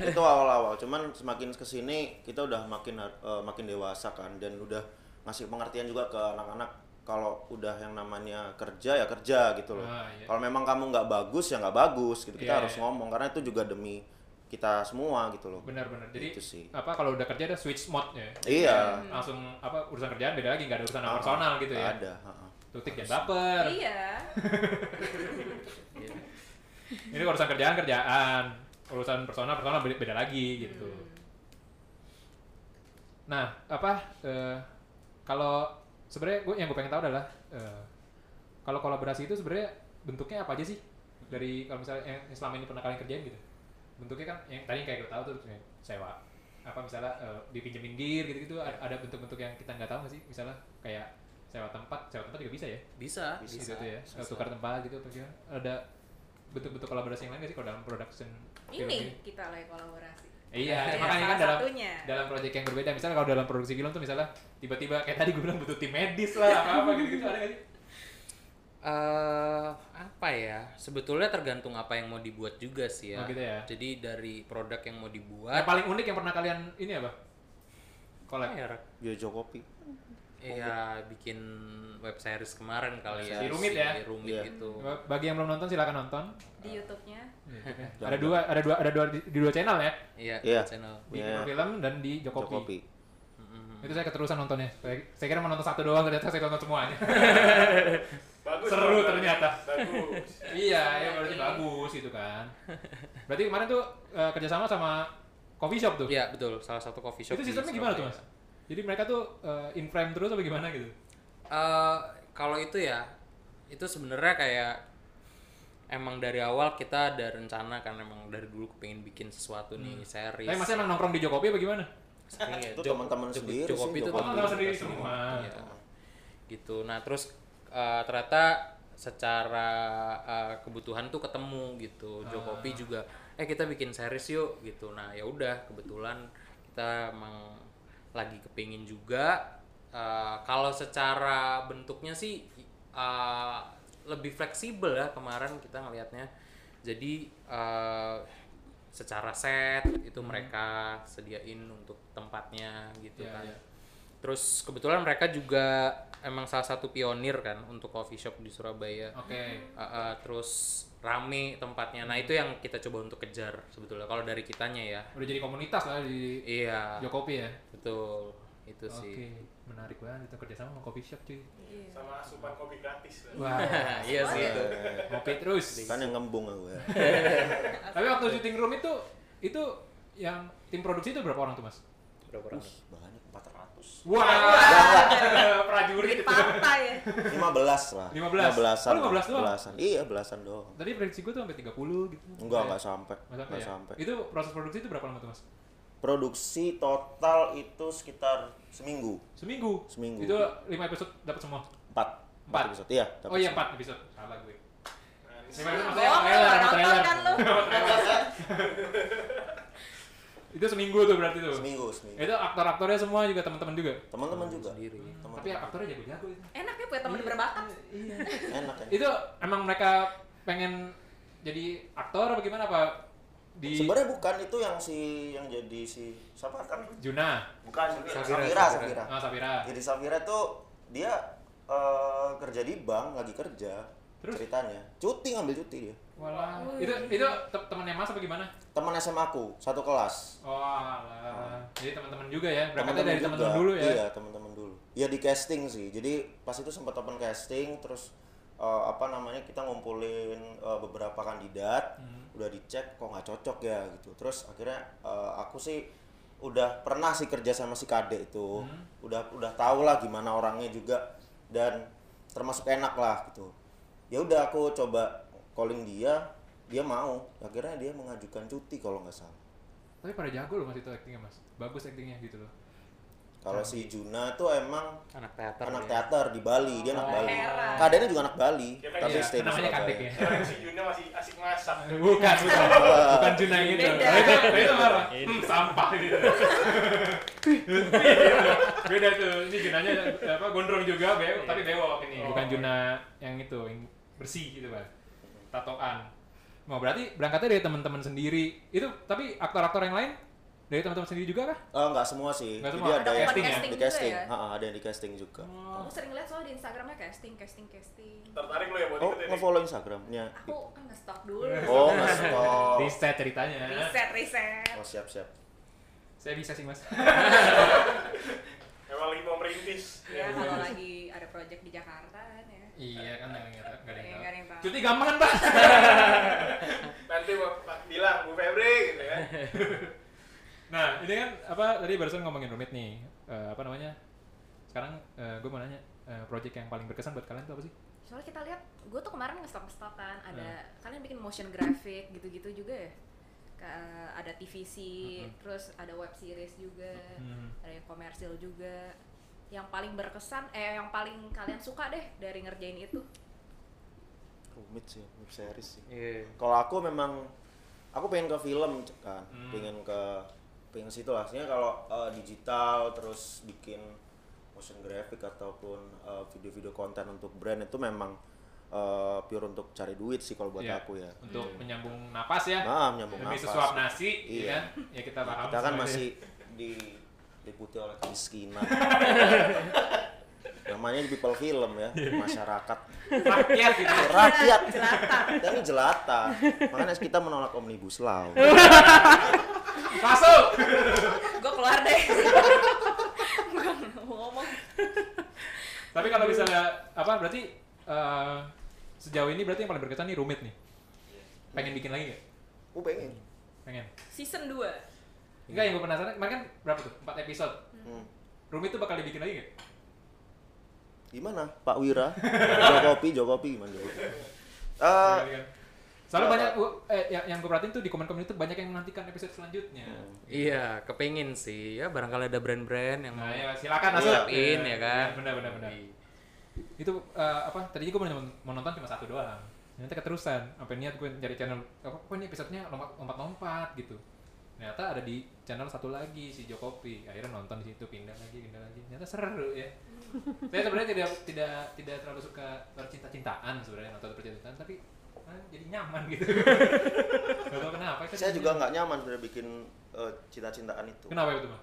Speaker 5: itu awal-awal cuman semakin kesini kita udah makin har- eh, makin dewasa kan dan udah ngasih pengertian juga ke anak-anak kalau udah yang namanya kerja ya kerja gitu loh
Speaker 2: Ah, iya.
Speaker 5: kalau memang kamu nggak bagus ya nggak bagus gitu kita
Speaker 2: Iya,
Speaker 5: harus
Speaker 2: iya.
Speaker 5: ngomong karena itu juga demi kita semua gitu loh
Speaker 2: Benar-benar. Jadi
Speaker 5: Itu sih.
Speaker 2: apa kalau udah kerja ada switch mode ya.
Speaker 5: iya
Speaker 2: langsung apa urusan kerjaan beda lagi nggak ada urusan
Speaker 5: Ah,
Speaker 2: personal gitu ya
Speaker 5: ada ah, ah.
Speaker 2: tutik jangan baper
Speaker 3: iya
Speaker 2: ini urusan kerjaan kerjaan urusan personal personal beda, beda lagi gitu nah apa eh, kalau sebenarnya gue yang gue pengen tahu adalah eh, kalau kolaborasi itu sebenarnya bentuknya apa aja sih dari kalau misalnya yang yang selama ini pernah kalian kerjain gitu bentuknya kan yang tadi kayak gue tahu tuh kayak sewa apa misalnya eh, dipinjemin gear gitu gitu ada bentuk-bentuk yang kita nggak tahu nggak sih misalnya kayak sewa tempat sewa tempat juga bisa ya
Speaker 4: bisa
Speaker 5: Bisa.
Speaker 4: bisa,
Speaker 2: gitu ya tukar tempat gitu apa gimana ada bentuk-bentuk kolaborasi yang lain gak sih kalau dalam production film
Speaker 3: ini kita lagi kolaborasi
Speaker 2: Eh, iya
Speaker 3: Iya,
Speaker 2: cuma kan ini kan
Speaker 3: salah
Speaker 2: dalam
Speaker 3: satunya.
Speaker 2: dalam proyek yang berbeda misalnya kalau dalam produksi film tuh misalnya tiba-tiba kayak tadi gue bilang butuh tim medis lah apa apa gitu gitu ada gak sih
Speaker 4: eh apa ya sebetulnya tergantung apa yang mau dibuat juga sih
Speaker 2: Oh,
Speaker 4: ya,
Speaker 2: gitu ya.
Speaker 4: jadi dari produk yang mau dibuat
Speaker 2: yang paling unik yang pernah kalian ini apa collab
Speaker 4: apa ya, Rak?
Speaker 5: Jojo kopi
Speaker 4: Iya, bikin web series kemarin kali ya
Speaker 2: Di rumit
Speaker 4: si
Speaker 2: ya?
Speaker 4: rumit
Speaker 5: Iya.
Speaker 4: gitu
Speaker 2: bagi yang belum nonton silakan nonton
Speaker 3: di YouTube-nya
Speaker 2: ada dua ada dua ada dua di, di dua channel ya
Speaker 4: iya
Speaker 5: Iya.
Speaker 4: channel
Speaker 2: di
Speaker 5: Iya.
Speaker 2: Kino film dan di Jokopi,
Speaker 5: Jokopi
Speaker 2: Itu saya keterusan nontonnya. Saya, saya kira mau nonton satu doang, ternyata saya nonton semuanya.
Speaker 1: Bagus.
Speaker 2: Seru
Speaker 1: bagus.
Speaker 2: ternyata.
Speaker 1: Bagus.
Speaker 2: iya, ya berarti bagus gitu kan. Berarti kemarin tuh eh, kerjasama sama coffee shop tuh.
Speaker 4: Iya betul, salah satu coffee shop. iya.
Speaker 2: Itu
Speaker 4: di
Speaker 2: sistemnya gimana tuh
Speaker 4: Surabaya.
Speaker 2: mas? Jadi mereka tuh eh, in frame terus apa gimana gitu?
Speaker 4: Eh, kalau itu ya, itu sebenarnya kayak emang dari awal kita ada rencana kan emang dari dulu pengen bikin sesuatu nih series.
Speaker 2: Hmm. Tapi masnya emang nongkrong di Jokopi apa gimana?
Speaker 4: Sering ya,
Speaker 5: Itu
Speaker 4: Jok-
Speaker 5: teman-teman
Speaker 4: Jok-
Speaker 5: sendiri
Speaker 4: Jokopi
Speaker 5: sih,
Speaker 4: itu
Speaker 5: Jokopi.
Speaker 4: teman-teman
Speaker 2: Teman-teman sendiri
Speaker 4: kita
Speaker 2: semua.
Speaker 4: Iya. Gitu. Nah, terus eh, ternyata secara eh, kebutuhan tuh ketemu gitu. Jokopi juga eh kita bikin series yuk gitu. Nah, ya udah kebetulan kita emang lagi kepingin juga Eh, kalau secara bentuknya sih eh, lebih fleksibel ya kemarin kita ngelihatnya. Jadi eh, secara set itu mereka sediain untuk tempatnya gitu
Speaker 2: Iya,
Speaker 4: kan.
Speaker 2: iya.
Speaker 4: Terus kebetulan mereka juga emang salah satu pionir kan untuk coffee shop di Surabaya.
Speaker 2: Oke.
Speaker 4: Uh, uh, terus rame tempatnya. Nah, itu yang kita coba untuk kejar sebetulnya kalau dari kitanya ya.
Speaker 2: Udah jadi komunitas lah di
Speaker 4: Iya.
Speaker 2: Jokopi ya.
Speaker 4: Betul. Itu
Speaker 2: Oke,
Speaker 4: sih.
Speaker 2: menarik banget itu kerjasama sama coffee shop cuy.
Speaker 3: Iya.
Speaker 1: Sama asupan kopi gratis.
Speaker 2: Wah,
Speaker 4: iya sih
Speaker 2: Gitu.
Speaker 4: itu.
Speaker 5: Eh,
Speaker 2: ngopi terus.
Speaker 5: kan yang ngembung aku ya.
Speaker 2: Tapi waktu syuting room itu itu yang tim produksi itu berapa orang tuh mas?
Speaker 4: Berapa orang?
Speaker 5: Ih, banyak 400.
Speaker 2: Wah, Iya, prajurit itu.
Speaker 3: Partai ya.
Speaker 5: 15 lah.
Speaker 2: 15?
Speaker 5: 15-an.
Speaker 2: Oh, 15 doang?
Speaker 5: Belasan. Iya, belasan doang.
Speaker 2: Tadi prediksi gue tuh sampai 30 gitu. Kayak-
Speaker 5: Enggak,
Speaker 2: Nggak
Speaker 5: enggak sampai.
Speaker 2: sampai
Speaker 5: Enggak
Speaker 2: ya?
Speaker 5: sampai.
Speaker 2: Itu proses produksi itu berapa lama tuh mas?
Speaker 5: Produksi total itu sekitar seminggu.
Speaker 2: Seminggu.
Speaker 5: Seminggu.
Speaker 2: Itu 5 episode dapat semua.
Speaker 5: 4.
Speaker 2: Empat?
Speaker 5: episode. Iya, dapat
Speaker 2: oh iya
Speaker 5: semua.
Speaker 2: 4 episode. Salah gue.
Speaker 1: Manis.
Speaker 2: Lima episode maksudnya
Speaker 3: Bohong,
Speaker 2: trailer,
Speaker 3: nggak
Speaker 2: sama
Speaker 3: nonton
Speaker 2: trailer.
Speaker 3: kan lu.
Speaker 2: Itu seminggu tuh berarti tuh.
Speaker 5: Seminggu, seminggu.
Speaker 2: Itu aktor-aktornya semua juga teman-teman juga.
Speaker 5: Teman-teman juga.
Speaker 4: Sendiri.
Speaker 5: Teman-teman.
Speaker 2: Tapi aktornya jago-jago itu.
Speaker 3: Enak ya punya temen
Speaker 2: Iya.
Speaker 3: berbakat.
Speaker 5: Enak kan?
Speaker 2: Itu emang mereka pengen jadi aktor apa gimana apa di
Speaker 5: Sebenarnya bukan itu yang si yang jadi si siapa kan?
Speaker 2: Juna?
Speaker 5: Bukan
Speaker 4: Safira,
Speaker 5: Safira,
Speaker 4: Safira.
Speaker 5: Safira.
Speaker 2: Ah, Safira.
Speaker 5: Jadi Safira tuh dia eh, kerja di bank, lagi kerja
Speaker 2: Terus?
Speaker 5: ceritanya. Cuti ngambil cuti dia.
Speaker 2: Walah. Itu itu te- temannya Mas apa gimana?
Speaker 5: Teman SMA aku, satu kelas.
Speaker 2: Oh, alah. Jadi teman-teman juga ya. Berangkatnya
Speaker 5: Ah. Teman-teman
Speaker 2: dari
Speaker 5: juga.
Speaker 2: teman-teman dulu ya.
Speaker 5: Iya, teman-teman dulu. Ya di casting sih. Jadi pas itu sempat open casting terus eh, apa namanya kita ngumpulin eh, beberapa kandidat,
Speaker 2: Hmm.
Speaker 5: udah dicek kok nggak cocok ya gitu. Terus akhirnya eh, aku sih udah pernah sih kerja sama si Kade itu.
Speaker 2: Hmm.
Speaker 5: Udah udah tau lah gimana orangnya juga dan termasuk enak lah gitu. Ya udah aku coba calling dia, dia mau. Akhirnya dia mengajukan cuti kalau nggak salah.
Speaker 2: Tapi pada jago loh Mas itu aktingnya Mas. Bagus aktingnya gitu loh.
Speaker 5: Kalau
Speaker 2: Hmm.
Speaker 5: si Juna tuh emang
Speaker 4: Anak teater. ya.
Speaker 5: anak
Speaker 4: Oh,
Speaker 5: teater di Bali dia anak Bali
Speaker 3: heran.
Speaker 5: keadaannya juga anak Bali
Speaker 1: Dia kan
Speaker 5: tapi
Speaker 1: iya,
Speaker 5: stay di
Speaker 2: namanya
Speaker 5: Surabaya
Speaker 2: Kadek ya.
Speaker 1: Orang si Juna masih asik masak.
Speaker 2: Bukan, bukan. bukan Juna yang itu.
Speaker 3: Beda.
Speaker 2: Nah, itu, nah, itu marah. Hmm, sampah gitu. Beda tuh. Ini Junanya apa gondrong juga, be tapi bewok ini. Bukan Juna yang itu, yang bersih gitu, Pak. Tatoan. Mau berarti berangkatnya dari teman-teman sendiri. Itu tapi aktor-aktor yang lain dari teman-teman sendiri juga kah?
Speaker 5: Eh, nggak semua sih
Speaker 2: Nggak
Speaker 5: jadi
Speaker 2: semua.
Speaker 5: ada
Speaker 2: Ada
Speaker 5: yang
Speaker 2: casting
Speaker 3: ya?
Speaker 5: di casting
Speaker 3: juga ya?
Speaker 5: Ha, ha, ada yang di casting juga Oh,
Speaker 3: Aku sering lihat soal di Instagramnya casting, casting, casting.
Speaker 1: Tertarik lo ya buat
Speaker 5: oh
Speaker 1: ikutin nih?
Speaker 5: ngefollow Instagramnya
Speaker 3: Aku kan nge-stalk dulu.
Speaker 2: Iya.
Speaker 5: oh nggak stop
Speaker 2: Di set ceritanya.
Speaker 3: Riset, riset.
Speaker 2: Iya,
Speaker 5: oh siap siap
Speaker 2: Saya bisa sih, Mas.
Speaker 1: Emang lagi mau merintis.
Speaker 3: Ya kalau lagi ada project di Jakarta kan ya.
Speaker 2: iya kan nggak nggak- nggak
Speaker 3: Iya, nggak
Speaker 2: ada
Speaker 3: ada
Speaker 2: yang
Speaker 3: yang
Speaker 2: tahu.
Speaker 3: tahu.
Speaker 2: Cuti gampang, Pak.
Speaker 1: Nanti Pak Pak bilang Bu Febri gitu kan.
Speaker 2: Nah, ini kan apa tadi barusan ngomongin rumit nih. Eh, apa namanya? Sekarang gue mau nanya eh, project yang paling berkesan buat kalian tuh apa sih?
Speaker 3: Soalnya kita lihat, gue tuh kemarin ngestok ngestok kan, ada kalian bikin motion graphic gitu-gitu juga ya. Ke- ada TVC, terus ada web series juga,
Speaker 2: Mhm.
Speaker 3: ada yang komersil juga. Yang paling berkesan, eh yang paling kalian suka deh dari ngerjain itu.
Speaker 5: rumit sih rumit series sih
Speaker 4: Iya.
Speaker 5: kalau aku memang aku pengen ke film kan
Speaker 2: Hmm.
Speaker 5: pengen ke pengen ke situ lah Sebenarnya kalau eh, digital terus bikin motion graphic ataupun eh, video-video konten untuk brand itu memang eh, pure untuk cari duit sih kalau buat
Speaker 2: Iya.
Speaker 5: aku ya
Speaker 2: Untuk menyambung napas ya.
Speaker 5: Nah, menyambung
Speaker 2: Lebih
Speaker 5: nafas.
Speaker 2: sesuap nasi,
Speaker 5: Iya.
Speaker 2: ya kan? Ya kita paham.
Speaker 5: kita kan
Speaker 2: semuanya.
Speaker 5: masih di diliputi oleh kemiskinan. Namanya di people film ya,
Speaker 2: Iya.
Speaker 5: masyarakat,
Speaker 2: rakyat gitu.
Speaker 5: rakyat. Kita ini jelata. Makanya kita menolak omnibus law.
Speaker 2: Masuk.
Speaker 3: gue keluar deh. gue
Speaker 2: Tapi kalau misalnya apa berarti eh, sejauh ini berarti yang paling berkesan nih rumit nih. Pengen bikin lagi nggak?
Speaker 5: Gue pengen.
Speaker 2: Pengen.
Speaker 3: Season 2.
Speaker 2: Enggak yang gue penasaran, kemarin kan berapa tuh? 4 episode.
Speaker 5: Hmm.
Speaker 2: Rumit tuh bakal dibikin lagi nggak?
Speaker 5: Gimana? Pak Wira, Jokopi, Jokopi gimana? Jokopi? Eh,
Speaker 2: Kali kan. Soalnya banyak gua- eh, yang, yang gue perhatiin tuh di komen-komen itu banyak yang menantikan episode selanjutnya.
Speaker 4: Iya, kepengen sih ya barangkali ada brand-brand yang
Speaker 2: Nah
Speaker 4: mau
Speaker 2: ya silakan Iya.
Speaker 5: Iya.
Speaker 2: masuk.
Speaker 4: In, ya kan?
Speaker 2: Benar benar benar. Itu eh, apa? Tadinya gue mau nonton cuma satu doang. Ternyata keterusan. Sampai niat gue cari channel apa kok ini episodenya lompat lompat lompat gitu. Ternyata ada di channel satu lagi si Jokopi. Akhirnya nonton di situ pindah lagi pindah lagi. Ternyata seru ya. Saya sebenarnya tidak tidak tidak terlalu suka percinta-cintaan sebenarnya nonton percintaan tapi eh, jadi nyaman gitu. Gak tau kenapa. itu
Speaker 5: saya
Speaker 2: jadi
Speaker 5: juga
Speaker 2: nyaman.
Speaker 5: nggak nyaman sebenarnya bikin eh, cinta-cintaan itu.
Speaker 2: Kenapa itu bang?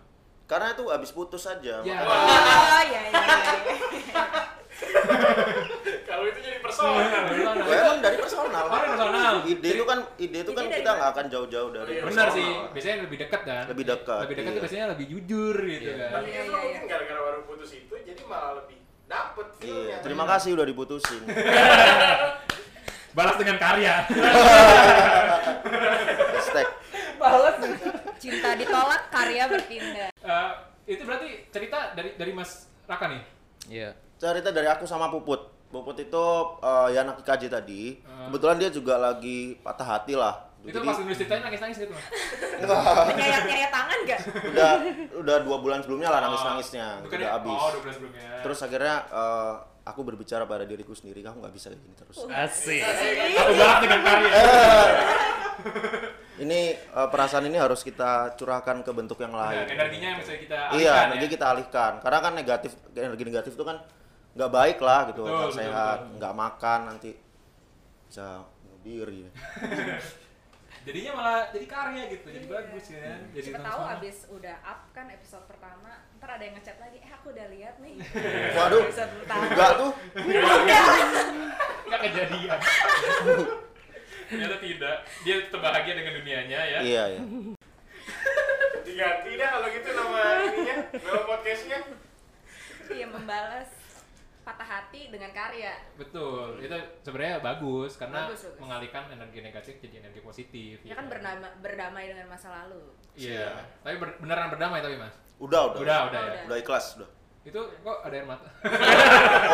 Speaker 5: Karena itu habis putus
Speaker 2: Ya.
Speaker 5: aja. makanya-
Speaker 3: Oh iya iya. iya.
Speaker 1: Kalau itu jadi personal.
Speaker 2: Gimana?
Speaker 5: Gue emang dari personal.
Speaker 2: Oh, dari personal.
Speaker 5: Ide itu kan ide itu
Speaker 3: Ide
Speaker 5: kan
Speaker 3: dari
Speaker 5: kita nggak
Speaker 3: mana?
Speaker 5: akan jauh-jauh dari.
Speaker 1: Iya,
Speaker 2: Benar
Speaker 5: personal.
Speaker 2: sih, biasanya lebih dekat kan?
Speaker 5: Lebih dekat,
Speaker 2: Lebih dekat tuh
Speaker 5: iya.
Speaker 2: biasanya lebih jujur gitu
Speaker 4: Iya.
Speaker 2: kan.
Speaker 1: Tapi
Speaker 3: Iya,
Speaker 1: itu
Speaker 3: iya,
Speaker 1: mungkin
Speaker 3: iya.
Speaker 1: gara-gara baru putus itu jadi malah lebih dapet
Speaker 5: Iya,
Speaker 1: feelnya.
Speaker 5: terima kasih udah diputusin.
Speaker 2: Balas dengan karya.
Speaker 5: Hashtag.
Speaker 3: Cinta ditolak, karya berpindah.
Speaker 2: Eh, itu berarti cerita dari dari Mas Raka nih.
Speaker 4: Iya.
Speaker 5: Cerita dari aku sama Puput. Puput itu eh, ya anak IKJ tadi.
Speaker 2: Hmm.
Speaker 5: Kebetulan dia juga lagi patah hati lah.
Speaker 2: Itu pas nulis ceritanya nangis-nangis gitu. Mas.
Speaker 3: Nyayat-nyayat tangan gak?
Speaker 5: udah udah dua bulan sebelumnya lah nangis nangisnya
Speaker 2: Bukan
Speaker 5: udah
Speaker 2: ya?
Speaker 5: habis
Speaker 2: Oh, udah bulan sebelumnya.
Speaker 5: terus akhirnya eh, aku berbicara pada diriku sendiri kamu nggak bisa kayak gini terus
Speaker 4: Asik.
Speaker 3: Iya.
Speaker 2: aku balas dengan karya.
Speaker 5: ini eh, perasaan ini harus kita curahkan ke bentuk yang
Speaker 2: Nah,
Speaker 5: lain
Speaker 2: energinya yang bisa kita
Speaker 5: iya
Speaker 2: alihkan
Speaker 5: energi
Speaker 2: ya.
Speaker 5: kita alihkan karena kan negatif energi negatif itu kan nggak baik lah gitu
Speaker 2: Betul,
Speaker 5: nggak
Speaker 2: betul,
Speaker 5: sehat
Speaker 2: betul.
Speaker 5: nggak makan nanti bisa ya. bunuh diri
Speaker 2: Jadinya malah jadi karya gitu, jadi bagus ya. Jadi
Speaker 3: Iya. Siapa
Speaker 2: tontonan.
Speaker 3: tahu abis udah up kan episode pertama, ntar ada yang ngechat lagi, eh aku udah lihat nih.
Speaker 5: waduh
Speaker 3: Episode pertama.
Speaker 5: enggak tuh
Speaker 2: nggak kejadian. Ternyata tidak. Dia tetap bahagia dengan dunianya ya.
Speaker 5: iya iya
Speaker 1: Diganti dah kalau gitu nama ininya, nama podcastnya.
Speaker 3: Iya membalas patah hati dengan karya.
Speaker 2: Betul, itu sebenarnya bagus karena
Speaker 3: Bagus, bagus.
Speaker 2: mengalihkan energi negatif jadi energi positif. gitu
Speaker 3: Ya kan bernama, berdamai dengan masa lalu.
Speaker 2: Iya, tapi ber- beneran berdamai tapi mas.
Speaker 5: udah udah
Speaker 2: Udah, udah ya.
Speaker 3: Udah.
Speaker 5: Udah ikhlas udah
Speaker 2: Itu kok ada air mata.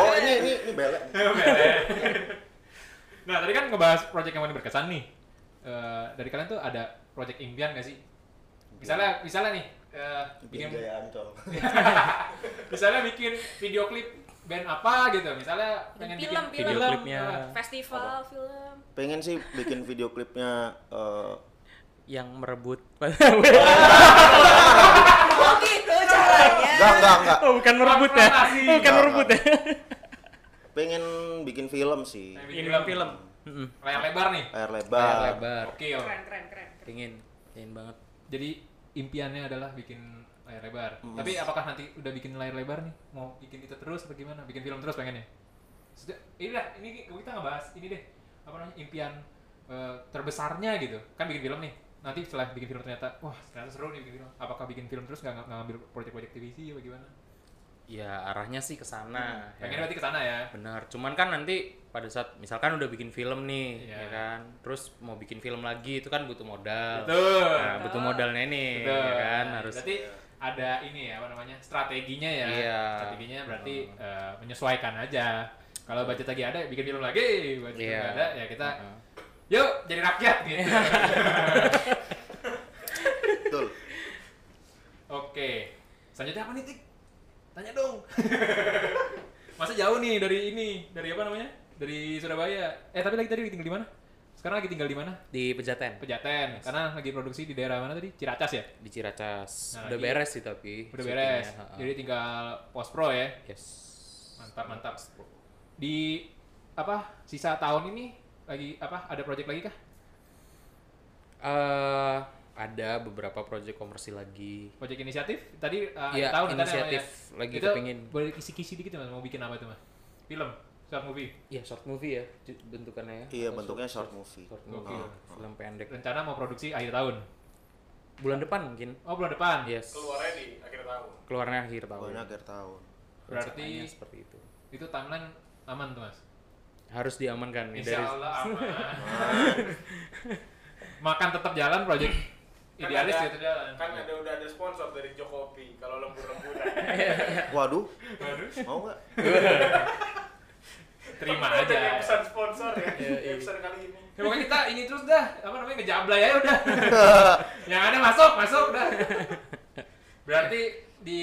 Speaker 5: oh ini ini ini belek
Speaker 2: nah tadi kan ngebahas project yang paling berkesan nih. Eh, dari kalian tuh ada project impian gak sih? Misalnya, misalnya nih, eh, bikin,
Speaker 5: gayaan cowok
Speaker 2: misalnya bikin video klip band apa gitu, misalnya pengen
Speaker 3: Film,
Speaker 2: bikin
Speaker 3: film.
Speaker 2: film,
Speaker 4: Klipnya.
Speaker 2: eh,
Speaker 3: Festival film.
Speaker 5: pengen sih bikin video klipnya eh,
Speaker 4: Yang merebut.
Speaker 3: Oh gitu caranya.
Speaker 5: enggak enggak enggak
Speaker 4: oh, bukan merebut ya.
Speaker 2: Aklamasi.
Speaker 4: Oh, bukan
Speaker 5: Enggak,
Speaker 4: merebut ya.
Speaker 5: pengen bikin film sih
Speaker 2: pengen bikin
Speaker 4: Ini
Speaker 2: film,
Speaker 4: film. Heeh.
Speaker 2: layar lebar nih.
Speaker 5: layar
Speaker 4: Layar
Speaker 5: lebar
Speaker 4: Iya, lebar.
Speaker 2: Oke,
Speaker 3: Keren, keren, keren. keren.
Speaker 4: Pingin, pingin banget.
Speaker 2: jadi impiannya adalah bikin layar lebar. Tapi apakah nanti udah bikin layar lebar nih? Mau bikin itu terus atau gimana? Bikin film terus pengennya? Sudah, ini dah, ini kita nggak bahas ini deh. Apa namanya impian eh, terbesarnya gitu? Kan bikin film nih. Nanti setelah bikin film ternyata, wah ternyata seru nih bikin film. Apakah bikin film terus nggak nggak ngambil proyek-proyek TVC apa gimana?
Speaker 4: Ya arahnya sih ke sana. ya.
Speaker 2: Pengen berarti ke sana ya.
Speaker 4: Benar. Cuman kan nanti pada saat misalkan udah bikin film nih,
Speaker 2: Iya.
Speaker 4: ya kan. Terus mau bikin film lagi itu kan butuh modal.
Speaker 2: Betul.
Speaker 4: Nah, butuh modalnya nih,
Speaker 2: Betul.
Speaker 4: ya kan harus.
Speaker 2: Berarti ada ini ya apa namanya strateginya ya.
Speaker 4: Iya.
Speaker 2: Strateginya berarti eh, menyesuaikan aja. Kalau budget lagi ada, bikin film lagi. Budget
Speaker 4: Iya.
Speaker 2: nggak ada, ya kita
Speaker 4: Heeh.
Speaker 2: yuk jadi rakyat gitu.
Speaker 5: betul
Speaker 2: Oke. Selanjutnya apa nih, Tik? Tanya dong. Masa jauh nih dari ini, dari apa namanya? Dari Surabaya. Eh, tapi lagi tadi tinggal di mana? Sekarang lagi tinggal di mana?
Speaker 4: Di Pejaten,
Speaker 2: Pejaten. Karena lagi produksi di daerah mana tadi? Ciracas ya?
Speaker 4: di Ciracas.
Speaker 2: Nah,
Speaker 4: udah
Speaker 2: lagi-
Speaker 4: beres sih tapi.
Speaker 2: Udah beres.
Speaker 4: syutingnya, heeh.
Speaker 2: Jadi tinggal post pro ya.
Speaker 4: yes.
Speaker 2: mantap mantap di apa sisa tahun ini lagi apa ada project lagi kah
Speaker 4: Eh, ada beberapa project komersil lagi.
Speaker 2: project inisiatif tadi uh,
Speaker 4: Iya,
Speaker 2: tahun katanya,
Speaker 4: inisiatif.
Speaker 2: Mas,
Speaker 4: Lagi
Speaker 2: itu
Speaker 4: kepingin.
Speaker 2: boleh kisi-kisi dikit mas mau bikin apa tuh mas film short movie
Speaker 4: Iya, short movie ya ju- bentukannya ya.
Speaker 5: iya
Speaker 4: Atau
Speaker 5: bentuknya
Speaker 4: short-
Speaker 5: short movie
Speaker 4: short movie,
Speaker 2: Gokil.
Speaker 4: film pendek.
Speaker 2: rencana mau produksi akhir tahun
Speaker 4: Bulan depan mungkin.
Speaker 2: oh bulan depan
Speaker 4: Yes.
Speaker 1: Keluarnya di akhir tahun.
Speaker 4: Keluarnya akhir tahun.
Speaker 5: pokoknya akhir tahun
Speaker 2: Berarti-
Speaker 4: Rencananya seperti itu.
Speaker 2: itu timeline aman tuh mas
Speaker 4: harus diamankan nih
Speaker 2: Insya
Speaker 4: dari
Speaker 2: Allah aman makan tetap jalan project
Speaker 1: Kan
Speaker 2: idealis
Speaker 1: ada-
Speaker 2: gitu jalan
Speaker 1: kan ada udah ada sponsor dari Jokopi kalau lembur-lemburan
Speaker 5: Waduh, mau nggak?
Speaker 2: terima
Speaker 1: Kan Ada
Speaker 2: aja
Speaker 1: yang pesan sponsor ya
Speaker 4: Iya, iya.
Speaker 1: episode kali ini
Speaker 2: ya, pokoknya kita ini terus dah apa namanya ngejablay aja udah yang ada masuk masuk dah berarti di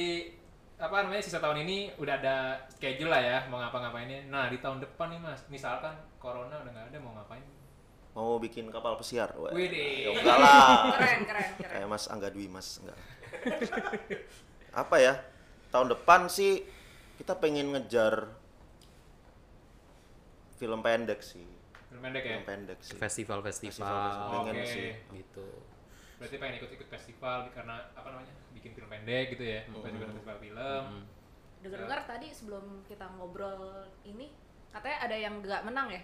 Speaker 2: apa namanya sisa tahun ini udah ada schedule lah ya mau ngapa-ngapainnya nah di tahun depan nih mas misalkan corona udah nggak ada mau ngapain
Speaker 5: Mau bikin kapal pesiar. Wah,
Speaker 2: Widih.
Speaker 5: ya enggak lah.
Speaker 3: keren keren keren
Speaker 5: Kayak Mas Angga Dwi Mas, enggak. Apa ya? Tahun depan sih kita pengen ngejar film pendek sih.
Speaker 2: film pendek ya
Speaker 5: Film pendek sih.
Speaker 4: festival-festival
Speaker 2: Oke.
Speaker 5: pengen sih.
Speaker 4: gitu
Speaker 2: berarti pengen ikut-ikut festival karena apa namanya bikin film pendek gitu ya
Speaker 5: Mm-hmm.
Speaker 2: festival festival film
Speaker 4: Mm.
Speaker 3: dengar-dengar tadi sebelum kita ngobrol ini katanya ada yang nggak menang ya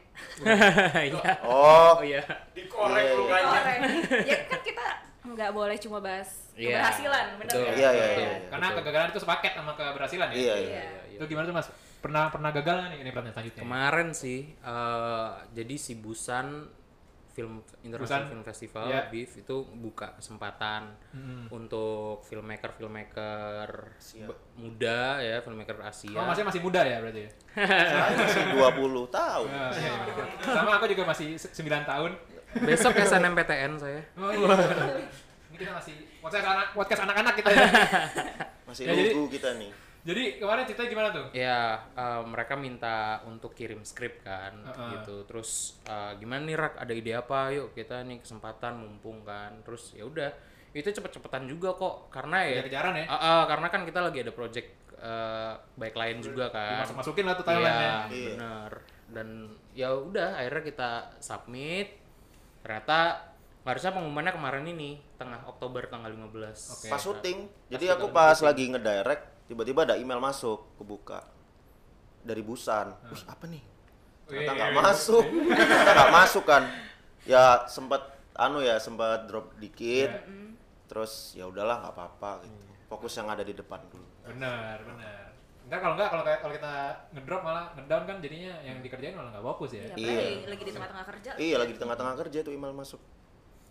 Speaker 4: Iya.
Speaker 5: Oh,
Speaker 4: oh iya
Speaker 1: dikorek
Speaker 5: Iya, iya.
Speaker 1: lukanya
Speaker 3: Orang. ya kan kita nggak boleh cuma bahas
Speaker 4: Iya.
Speaker 3: keberhasilan bener
Speaker 4: Betul.
Speaker 3: kan?
Speaker 5: Iya, iya,
Speaker 4: Betul.
Speaker 5: iya.
Speaker 2: karena
Speaker 4: Betul.
Speaker 2: kegagalan itu sepaket sama keberhasilan ya
Speaker 5: iya iya.
Speaker 3: Iya.
Speaker 2: itu gimana tuh mas pernah pernah gagal nggak nih ini pertanyaan selanjutnya
Speaker 4: Kemarin sih, eh, jadi si Busan Film International
Speaker 2: Busan.
Speaker 4: Film Festival
Speaker 2: Iya.
Speaker 4: BIF itu buka kesempatan
Speaker 2: Hmm.
Speaker 4: untuk filmmaker filmmaker
Speaker 5: Asia.
Speaker 4: be- muda ya, filmmaker Asia.
Speaker 5: iya.
Speaker 2: Oh, masih masih muda ya berarti ya?
Speaker 5: Saya masih 20 tahun.
Speaker 2: Iya, iya, iya. Sama aku juga masih se- 9 tahun.
Speaker 4: Besok SNMPTN saya.
Speaker 2: Oh, iya. Ini kita masih podcast anak podcast anak-anak kita ya.
Speaker 5: Masih
Speaker 2: Ya, jadi-
Speaker 5: lugu kita nih.
Speaker 2: Jadi kemarin ceritanya gimana tuh?
Speaker 4: Ya, eh, mereka minta untuk kirim skrip kan,
Speaker 2: Heeh.
Speaker 4: gitu. Terus eh, gimana nih Rak, ada ide apa? Yuk kita nih kesempatan mumpung kan. Terus ya udah, itu cepet-cepetan juga kok, karena ya
Speaker 2: Kejar-kejaran ya.
Speaker 4: Ah, ah, karena kan kita lagi ada project eh, baik lain juga kan.
Speaker 2: Masuk-masukin lah tuh timeline-nya.
Speaker 4: Iya,
Speaker 5: Iya.
Speaker 4: benar. Dan ya udah akhirnya kita submit. Ternyata harusnya pengumumannya kemarin ini tengah Oktober tanggal 15.
Speaker 2: Oke. ya.
Speaker 5: Pas syuting. Jadi
Speaker 4: Pas
Speaker 5: aku
Speaker 4: syuting.
Speaker 5: pas lagi ngedirect, tiba-tiba ada email masuk, kebuka. Dari Busan.
Speaker 2: Ya.
Speaker 5: Wih, apa nih? Ternyata nggak masuk. Ternyata nggak masuk kan. Ya sempet anu ya, sempet drop dikit.
Speaker 2: Ya.
Speaker 5: Terus ya udahlah nggak apa-apa gitu. Fokus yang ada di depan dulu.
Speaker 2: Benar, benar. Ntar kalau enggak kalau kayak- kalau kita ngedrop malah ngedown kan jadinya yang dikerjain malah nggak fokus ya.
Speaker 3: Iya,
Speaker 5: Iya.
Speaker 3: padahal lagi- lagi di tengah-tengah kerja
Speaker 5: Iya, lagi di tengah-tengah kerja tuh email masuk.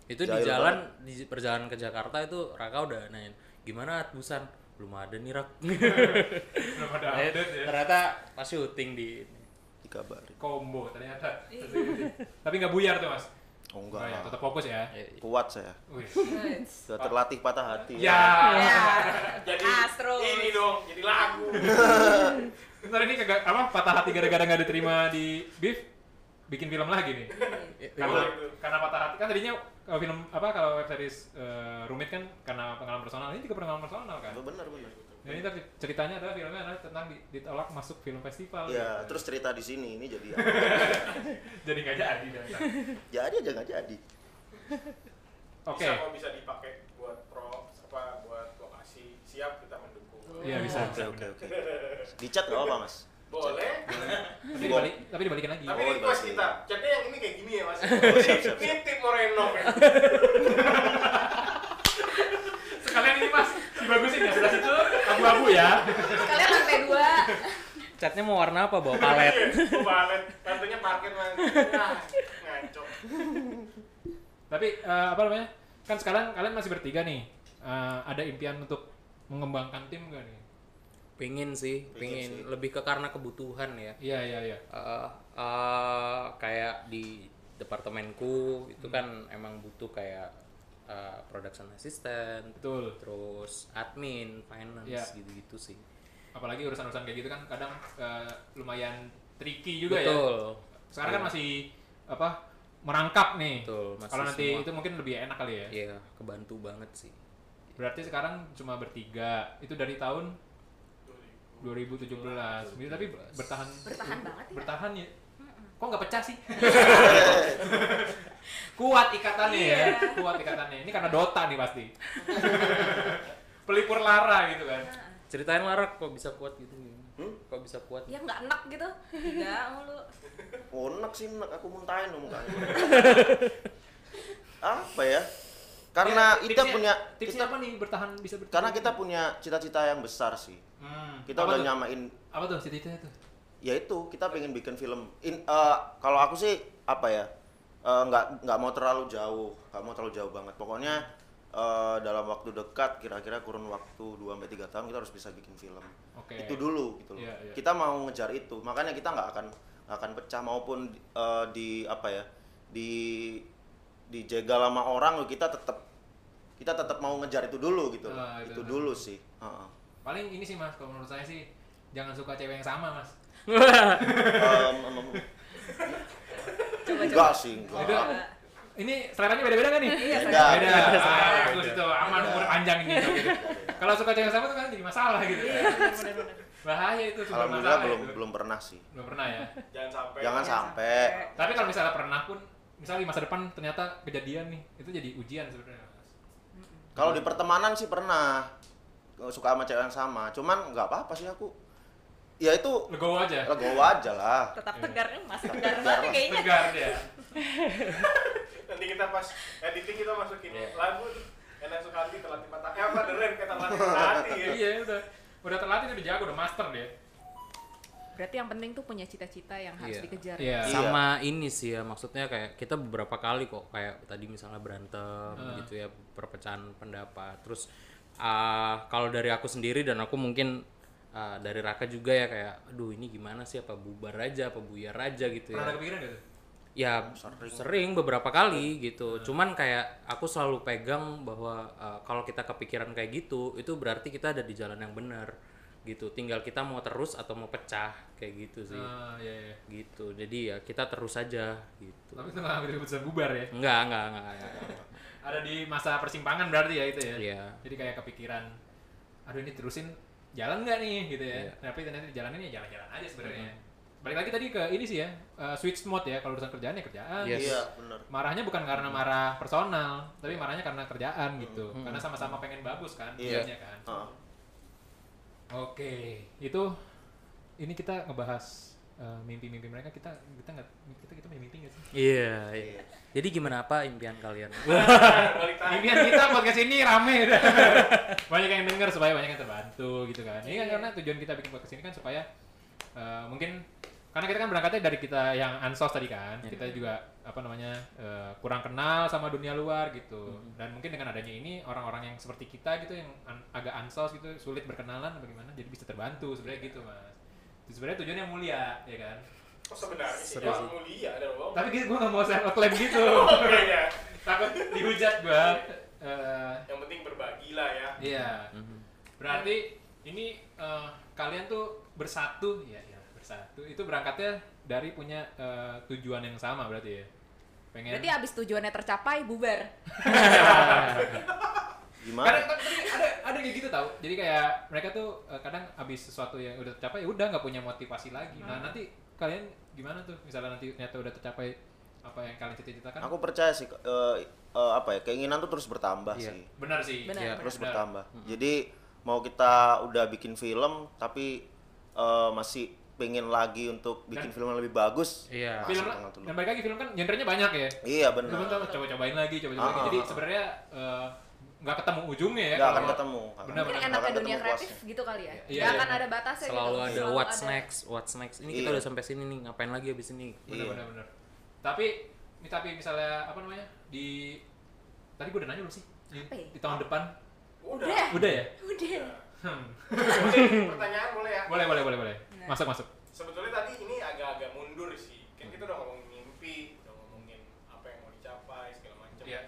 Speaker 4: Itu di
Speaker 5: Jahil
Speaker 4: jalan di perjalanan ke Jakarta itu Raka udah nanyain, "Gimana At, Busan?" Belum ada nih Rak.
Speaker 2: Belum ada
Speaker 4: Eh,
Speaker 2: update ya.
Speaker 4: Ternyata pas syuting di
Speaker 5: Dikabarin.
Speaker 2: Combo ternyata. Tapi nggak buyar tuh, Mas. Oh,
Speaker 5: Oh
Speaker 2: ya,
Speaker 5: enggak.
Speaker 2: tetap fokus ya.
Speaker 5: Kuat saya.
Speaker 2: Wih.
Speaker 5: Sudah terlatih patah hati.
Speaker 2: Ya.
Speaker 3: ya
Speaker 1: jadi
Speaker 3: Astros.
Speaker 1: ini dong jadi lagu
Speaker 2: Ntar ini kagak apa patah hati gara-gara nggak diterima di Beef bikin film lagi nih. karena
Speaker 1: Iya.
Speaker 2: karena patah hati kan tadinya kalau film apa kalau web series eh, rumit kan karena pengalaman personal ini juga pengalaman personal kan.
Speaker 5: Itu benar benar.
Speaker 2: Jadi ini tapi ceritanya adalah filmnya adalah tentang di- ditolak masuk film festival.
Speaker 5: Ya,
Speaker 2: gitu.
Speaker 5: terus cerita di sini ini jadi apa?
Speaker 2: jadi nggak jadi. dan-
Speaker 5: jadi aja nggak jadi.
Speaker 2: Oke.
Speaker 1: bisa kok bisa dipakai buat props apa buat lokasi siap kita mendukung
Speaker 2: Iya bisa.
Speaker 5: Oke oke oke. Di chat nggak apa mas?
Speaker 1: boleh
Speaker 2: Iya. Tapi dibalik tapi dibalikin lagi.
Speaker 1: tapi
Speaker 5: Oh,
Speaker 1: ini request
Speaker 5: dibagi.
Speaker 1: kita catnya yang ini kayak gini ya mas
Speaker 5: Oh, siap, siap, siap.
Speaker 1: ngintip Moreno ya
Speaker 2: Sekalian ini Mas dibagusin ya sebelah situ abu-abu ya.
Speaker 3: kalian lantai dua
Speaker 4: Catnya mau warna apa? Bawa palet.
Speaker 1: Oh, palet tentunya parkir mas Nah, ngaco
Speaker 2: Tapi eh, apa namanya? Kan sekarang kalian masih bertiga nih. Eh, ada impian untuk mengembangkan tim gak nih?
Speaker 4: Pingin sih,
Speaker 5: Pingin
Speaker 4: pingin
Speaker 5: sih.
Speaker 4: lebih ke karena kebutuhan ya.
Speaker 2: Iya iya iya.
Speaker 4: Eh, eh, kayak di departemenku itu kan
Speaker 5: Hmm.
Speaker 4: emang butuh kayak eh, production assistant,
Speaker 2: Betul.
Speaker 4: terus admin, finance
Speaker 5: Ya.
Speaker 2: Iya.
Speaker 4: gitu-gitu sih.
Speaker 2: Apalagi urusan-urusan kayak gitu kan kadang eh, lumayan tricky juga ya.
Speaker 4: betul, Iya.
Speaker 2: sekarang kan masih apa merangkap nih
Speaker 4: betul. Masih
Speaker 2: kalau nanti
Speaker 4: semua-
Speaker 2: itu mungkin lebih enak kali ya
Speaker 4: Iya, kebantu banget sih.
Speaker 2: berarti sekarang cuma bertiga itu dari tahun 2017 Mungkin Gitu, tapi bertahan
Speaker 3: bertahan banget ya
Speaker 2: bertahan ya kok nggak pecah sih kuat ikatannya
Speaker 3: Iya.
Speaker 2: ya kuat ikatannya ini karena Dota nih pasti pelipur lara gitu kan
Speaker 4: Ceritain Larak kok bisa kuat gitu. Kok bisa kuat?
Speaker 3: ya nggak enak gitu nggak mulu
Speaker 5: Unek Oh, sih unek aku muntahin dong mukanya. apa ya? Karena
Speaker 2: Ya,
Speaker 5: kita
Speaker 2: tipsnya-
Speaker 5: punya
Speaker 2: tipsnya apa nih bertahan bisa bertahan
Speaker 5: karena kita punya cita-cita yang besar sih.
Speaker 2: Hmm,
Speaker 5: Kita
Speaker 2: apa
Speaker 5: udah
Speaker 2: tuh?
Speaker 5: nyamain
Speaker 2: apa tuh cita-citanya tuh
Speaker 5: ya itu kita pengen bikin film In- eh, kalau aku sih apa ya eh, nggak nggak mau terlalu jauh nggak mau terlalu jauh banget pokoknya eh, dalam waktu dekat kira-kira kurun waktu 2 sampai tiga tahun kita harus bisa bikin film
Speaker 2: Oke.
Speaker 5: itu dulu gitu loh
Speaker 2: Iya, iya.
Speaker 5: kita mau ngejar itu makanya kita nggak akan nggak akan pecah maupun eh, di apa ya di dijaga lama orang loh kita tetap kita tetap mau ngejar itu dulu gitu loh.
Speaker 2: Ah, itu
Speaker 5: itu
Speaker 2: benar.
Speaker 5: dulu sih Heeh.
Speaker 2: Paling ini sih mas, kalau menurut saya sih jangan suka cewek yang sama mas.
Speaker 5: Em, em, em,
Speaker 3: Coba coba.
Speaker 5: enggak sih enggak
Speaker 2: Itu ini seleranya beda-beda nggak nih?
Speaker 3: Iya,
Speaker 5: Beda.
Speaker 2: Beda.
Speaker 5: Beda.
Speaker 2: Ah,
Speaker 5: Beda.
Speaker 2: Bagus itu aman umur panjang ini. gitu. Kalau suka cewek yang sama tuh kan jadi masalah gitu.
Speaker 3: Iya, Bener-bener.
Speaker 2: Bahaya itu sumber
Speaker 5: Iya. Alhamdulillah
Speaker 2: masalah
Speaker 5: belum
Speaker 2: itu.
Speaker 5: belum pernah sih.
Speaker 2: Belum pernah ya.
Speaker 1: Jangan sampai.
Speaker 5: Jangan sampai.
Speaker 2: Tapi kalau misalnya pernah pun, misalnya di masa depan ternyata kejadian nih, itu jadi ujian sebenarnya. Mas.
Speaker 5: Kalau di pertemanan sih pernah suka sama cewek yang sama. Cuman nggak apa-apa sih aku. Ya itu
Speaker 2: Legowo aja.
Speaker 5: legowo aja lah.
Speaker 3: Tetap
Speaker 2: Iya.
Speaker 3: tegar kan mas,
Speaker 5: Tetap
Speaker 3: tegar
Speaker 5: tegar
Speaker 3: banget
Speaker 5: lah.
Speaker 3: kayaknya.
Speaker 2: Tegar dia.
Speaker 1: Nanti kita pas editing kita masukin
Speaker 4: Iya.
Speaker 1: lagu enak suka hati telat patah. Eh apa deren kata telat patah hati ya.
Speaker 2: Iya udah. Udah terlatih udah jago udah master dia.
Speaker 3: Berarti yang penting tuh punya cita-cita yang harus
Speaker 4: Iya.
Speaker 3: dikejar.
Speaker 2: Iya.
Speaker 5: Iya.
Speaker 4: sama ini sih ya maksudnya kayak kita beberapa kali kok kayak tadi misalnya berantem
Speaker 2: Ah.
Speaker 4: gitu ya perpecahan pendapat terus ah, kalau dari aku sendiri dan aku mungkin ah, dari Raka juga ya kayak aduh ini gimana sih apa bubar aja apa buyar aja gitu
Speaker 2: Pernah ada
Speaker 4: ya
Speaker 2: kepikiran gak tuh?
Speaker 4: ya sering, beberapa kali gitu cuman kayak aku selalu pegang bahwa uh, kalau kita kepikiran kayak gitu itu berarti kita ada di jalan yang benar gitu tinggal kita mau terus atau mau pecah kayak gitu sih
Speaker 2: Ah, iya, iya.
Speaker 4: gitu jadi ya kita terus aja gitu
Speaker 2: Tapi itu nggak ambil keputusan bubar ya.
Speaker 4: enggak enggak enggak, enggak.
Speaker 2: Ada di masa persimpangan berarti ya itu ya.
Speaker 4: Iya.
Speaker 2: Jadi kayak kepikiran, aduh ini terusin jalan nggak nih gitu ya.
Speaker 4: Iya.
Speaker 2: Tapi ternyata dijalanin ya jalan-jalan aja sebenarnya. Balik lagi tadi ke ini sih ya, eh, switch mode ya. Kalau urusan kerjaan ya kerjaan.
Speaker 4: Yes.
Speaker 5: Iya, bener
Speaker 2: Marahnya bukan karena marah personal, tapi marahnya karena kerjaan gitu. Karena sama-sama pengen bagus kan,
Speaker 5: Iya.
Speaker 2: kerjanya kan.
Speaker 5: Heeh.
Speaker 2: Oke, itu ini kita ngebahas eh, mimpi-mimpi mereka kita kita nggak kita kita punya mimpi nggak sih?
Speaker 4: iya iya jadi gimana apa impian kalian
Speaker 1: Balik tanya.
Speaker 2: Impian kita podcast ini rame udah. banyak yang denger supaya banyak yang terbantu gitu kan. Ini kan
Speaker 3: Iya.
Speaker 2: karena tujuan kita bikin podcast ini kan supaya eh, mungkin karena kita kan berangkatnya dari kita yang ansos tadi kan. Kita juga apa namanya eh, kurang kenal sama dunia luar gitu. Dan mungkin dengan adanya ini orang-orang yang seperti kita gitu yang an- agak ansos gitu sulit berkenalan bagaimana jadi bisa terbantu sebenarnya gitu Mas. Itu Sebenarnya tujuannya mulia ya kan.
Speaker 1: Oh, sebenarnya sih
Speaker 4: Seru
Speaker 1: ya,
Speaker 4: sih.
Speaker 1: mulia ada bohong.
Speaker 2: Tapi gue gak mau self claim gitu.
Speaker 1: Oke ya.
Speaker 2: Takut dihujat gua. Eh,
Speaker 1: Yang penting berbagilah ya.
Speaker 2: Iya.
Speaker 5: Mhm.
Speaker 2: Berarti ini eh, kalian tuh bersatu, ya, ya bersatu. Itu berangkatnya dari punya eh, tujuan yang sama berarti ya.
Speaker 4: iya.
Speaker 2: Pengen. Ah.
Speaker 3: Berarti abis tujuannya tercapai, bubar.
Speaker 5: Gimana?
Speaker 2: Kadang tapi ada ada kayak gitu tau. Jadi kayak mereka tuh eh, kadang abis sesuatu yang udah tercapai, ya udah nggak punya motivasi lagi. Nah
Speaker 3: Hmm.
Speaker 2: nanti kalian gimana tuh? Misalnya nanti ternyata udah tercapai apa yang kalian cita-citakan?
Speaker 5: Aku percaya sih eh, eh, apa ya? Keinginan tuh terus bertambah
Speaker 4: Iya.
Speaker 5: sih.
Speaker 2: Benar sih.
Speaker 3: Benar,
Speaker 2: Iya,
Speaker 3: benar.
Speaker 5: Terus bertambah. Jadi mau kita udah bikin film tapi eh, masih pengen lagi untuk bikin film yang lebih bagus.
Speaker 4: Iya.
Speaker 5: masih
Speaker 2: Film
Speaker 5: tanggal dulu.
Speaker 2: dan balik lagi film kan genrenya banyak ya.
Speaker 5: Iya benar.
Speaker 2: Coba coba- coba-cobain lagi, coba-cobain lagi.
Speaker 5: Ah,
Speaker 2: Jadi
Speaker 5: ah, ah.
Speaker 2: sebenarnya eh, nggak ketemu ujungnya ya.
Speaker 5: Nggak akan
Speaker 2: kalau-
Speaker 5: ketemu.
Speaker 2: Benar,
Speaker 3: Mungkin
Speaker 2: benar.
Speaker 3: enaknya
Speaker 5: Akan
Speaker 3: dunia
Speaker 5: ketemu
Speaker 3: kreatif
Speaker 5: puasnya.
Speaker 3: gitu kali ya.
Speaker 2: Iya,
Speaker 3: Gak
Speaker 2: iya.
Speaker 3: akan ada batasnya
Speaker 4: selalu
Speaker 3: gitu.
Speaker 4: ada what's next what's next ini kita
Speaker 5: Iya.
Speaker 4: udah sampai sini nih ngapain lagi abis ini
Speaker 2: bener
Speaker 5: Iya.
Speaker 2: bener bener tapi ini tapi misalnya apa namanya di tadi gue udah nanya belum sih di,
Speaker 3: Apa ya?
Speaker 2: di tahun depan
Speaker 3: Udah.
Speaker 2: udah ya
Speaker 3: Udah.
Speaker 2: hmm.
Speaker 1: Boleh, pertanyaan boleh ya?
Speaker 2: boleh boleh boleh boleh
Speaker 3: Nah.
Speaker 2: masuk masuk
Speaker 1: Sebetulnya tadi ini agak-agak mundur sih. Kan kita udah ngomongin mimpi, udah ngomongin apa yang mau dicapai segala macam.
Speaker 2: Iya.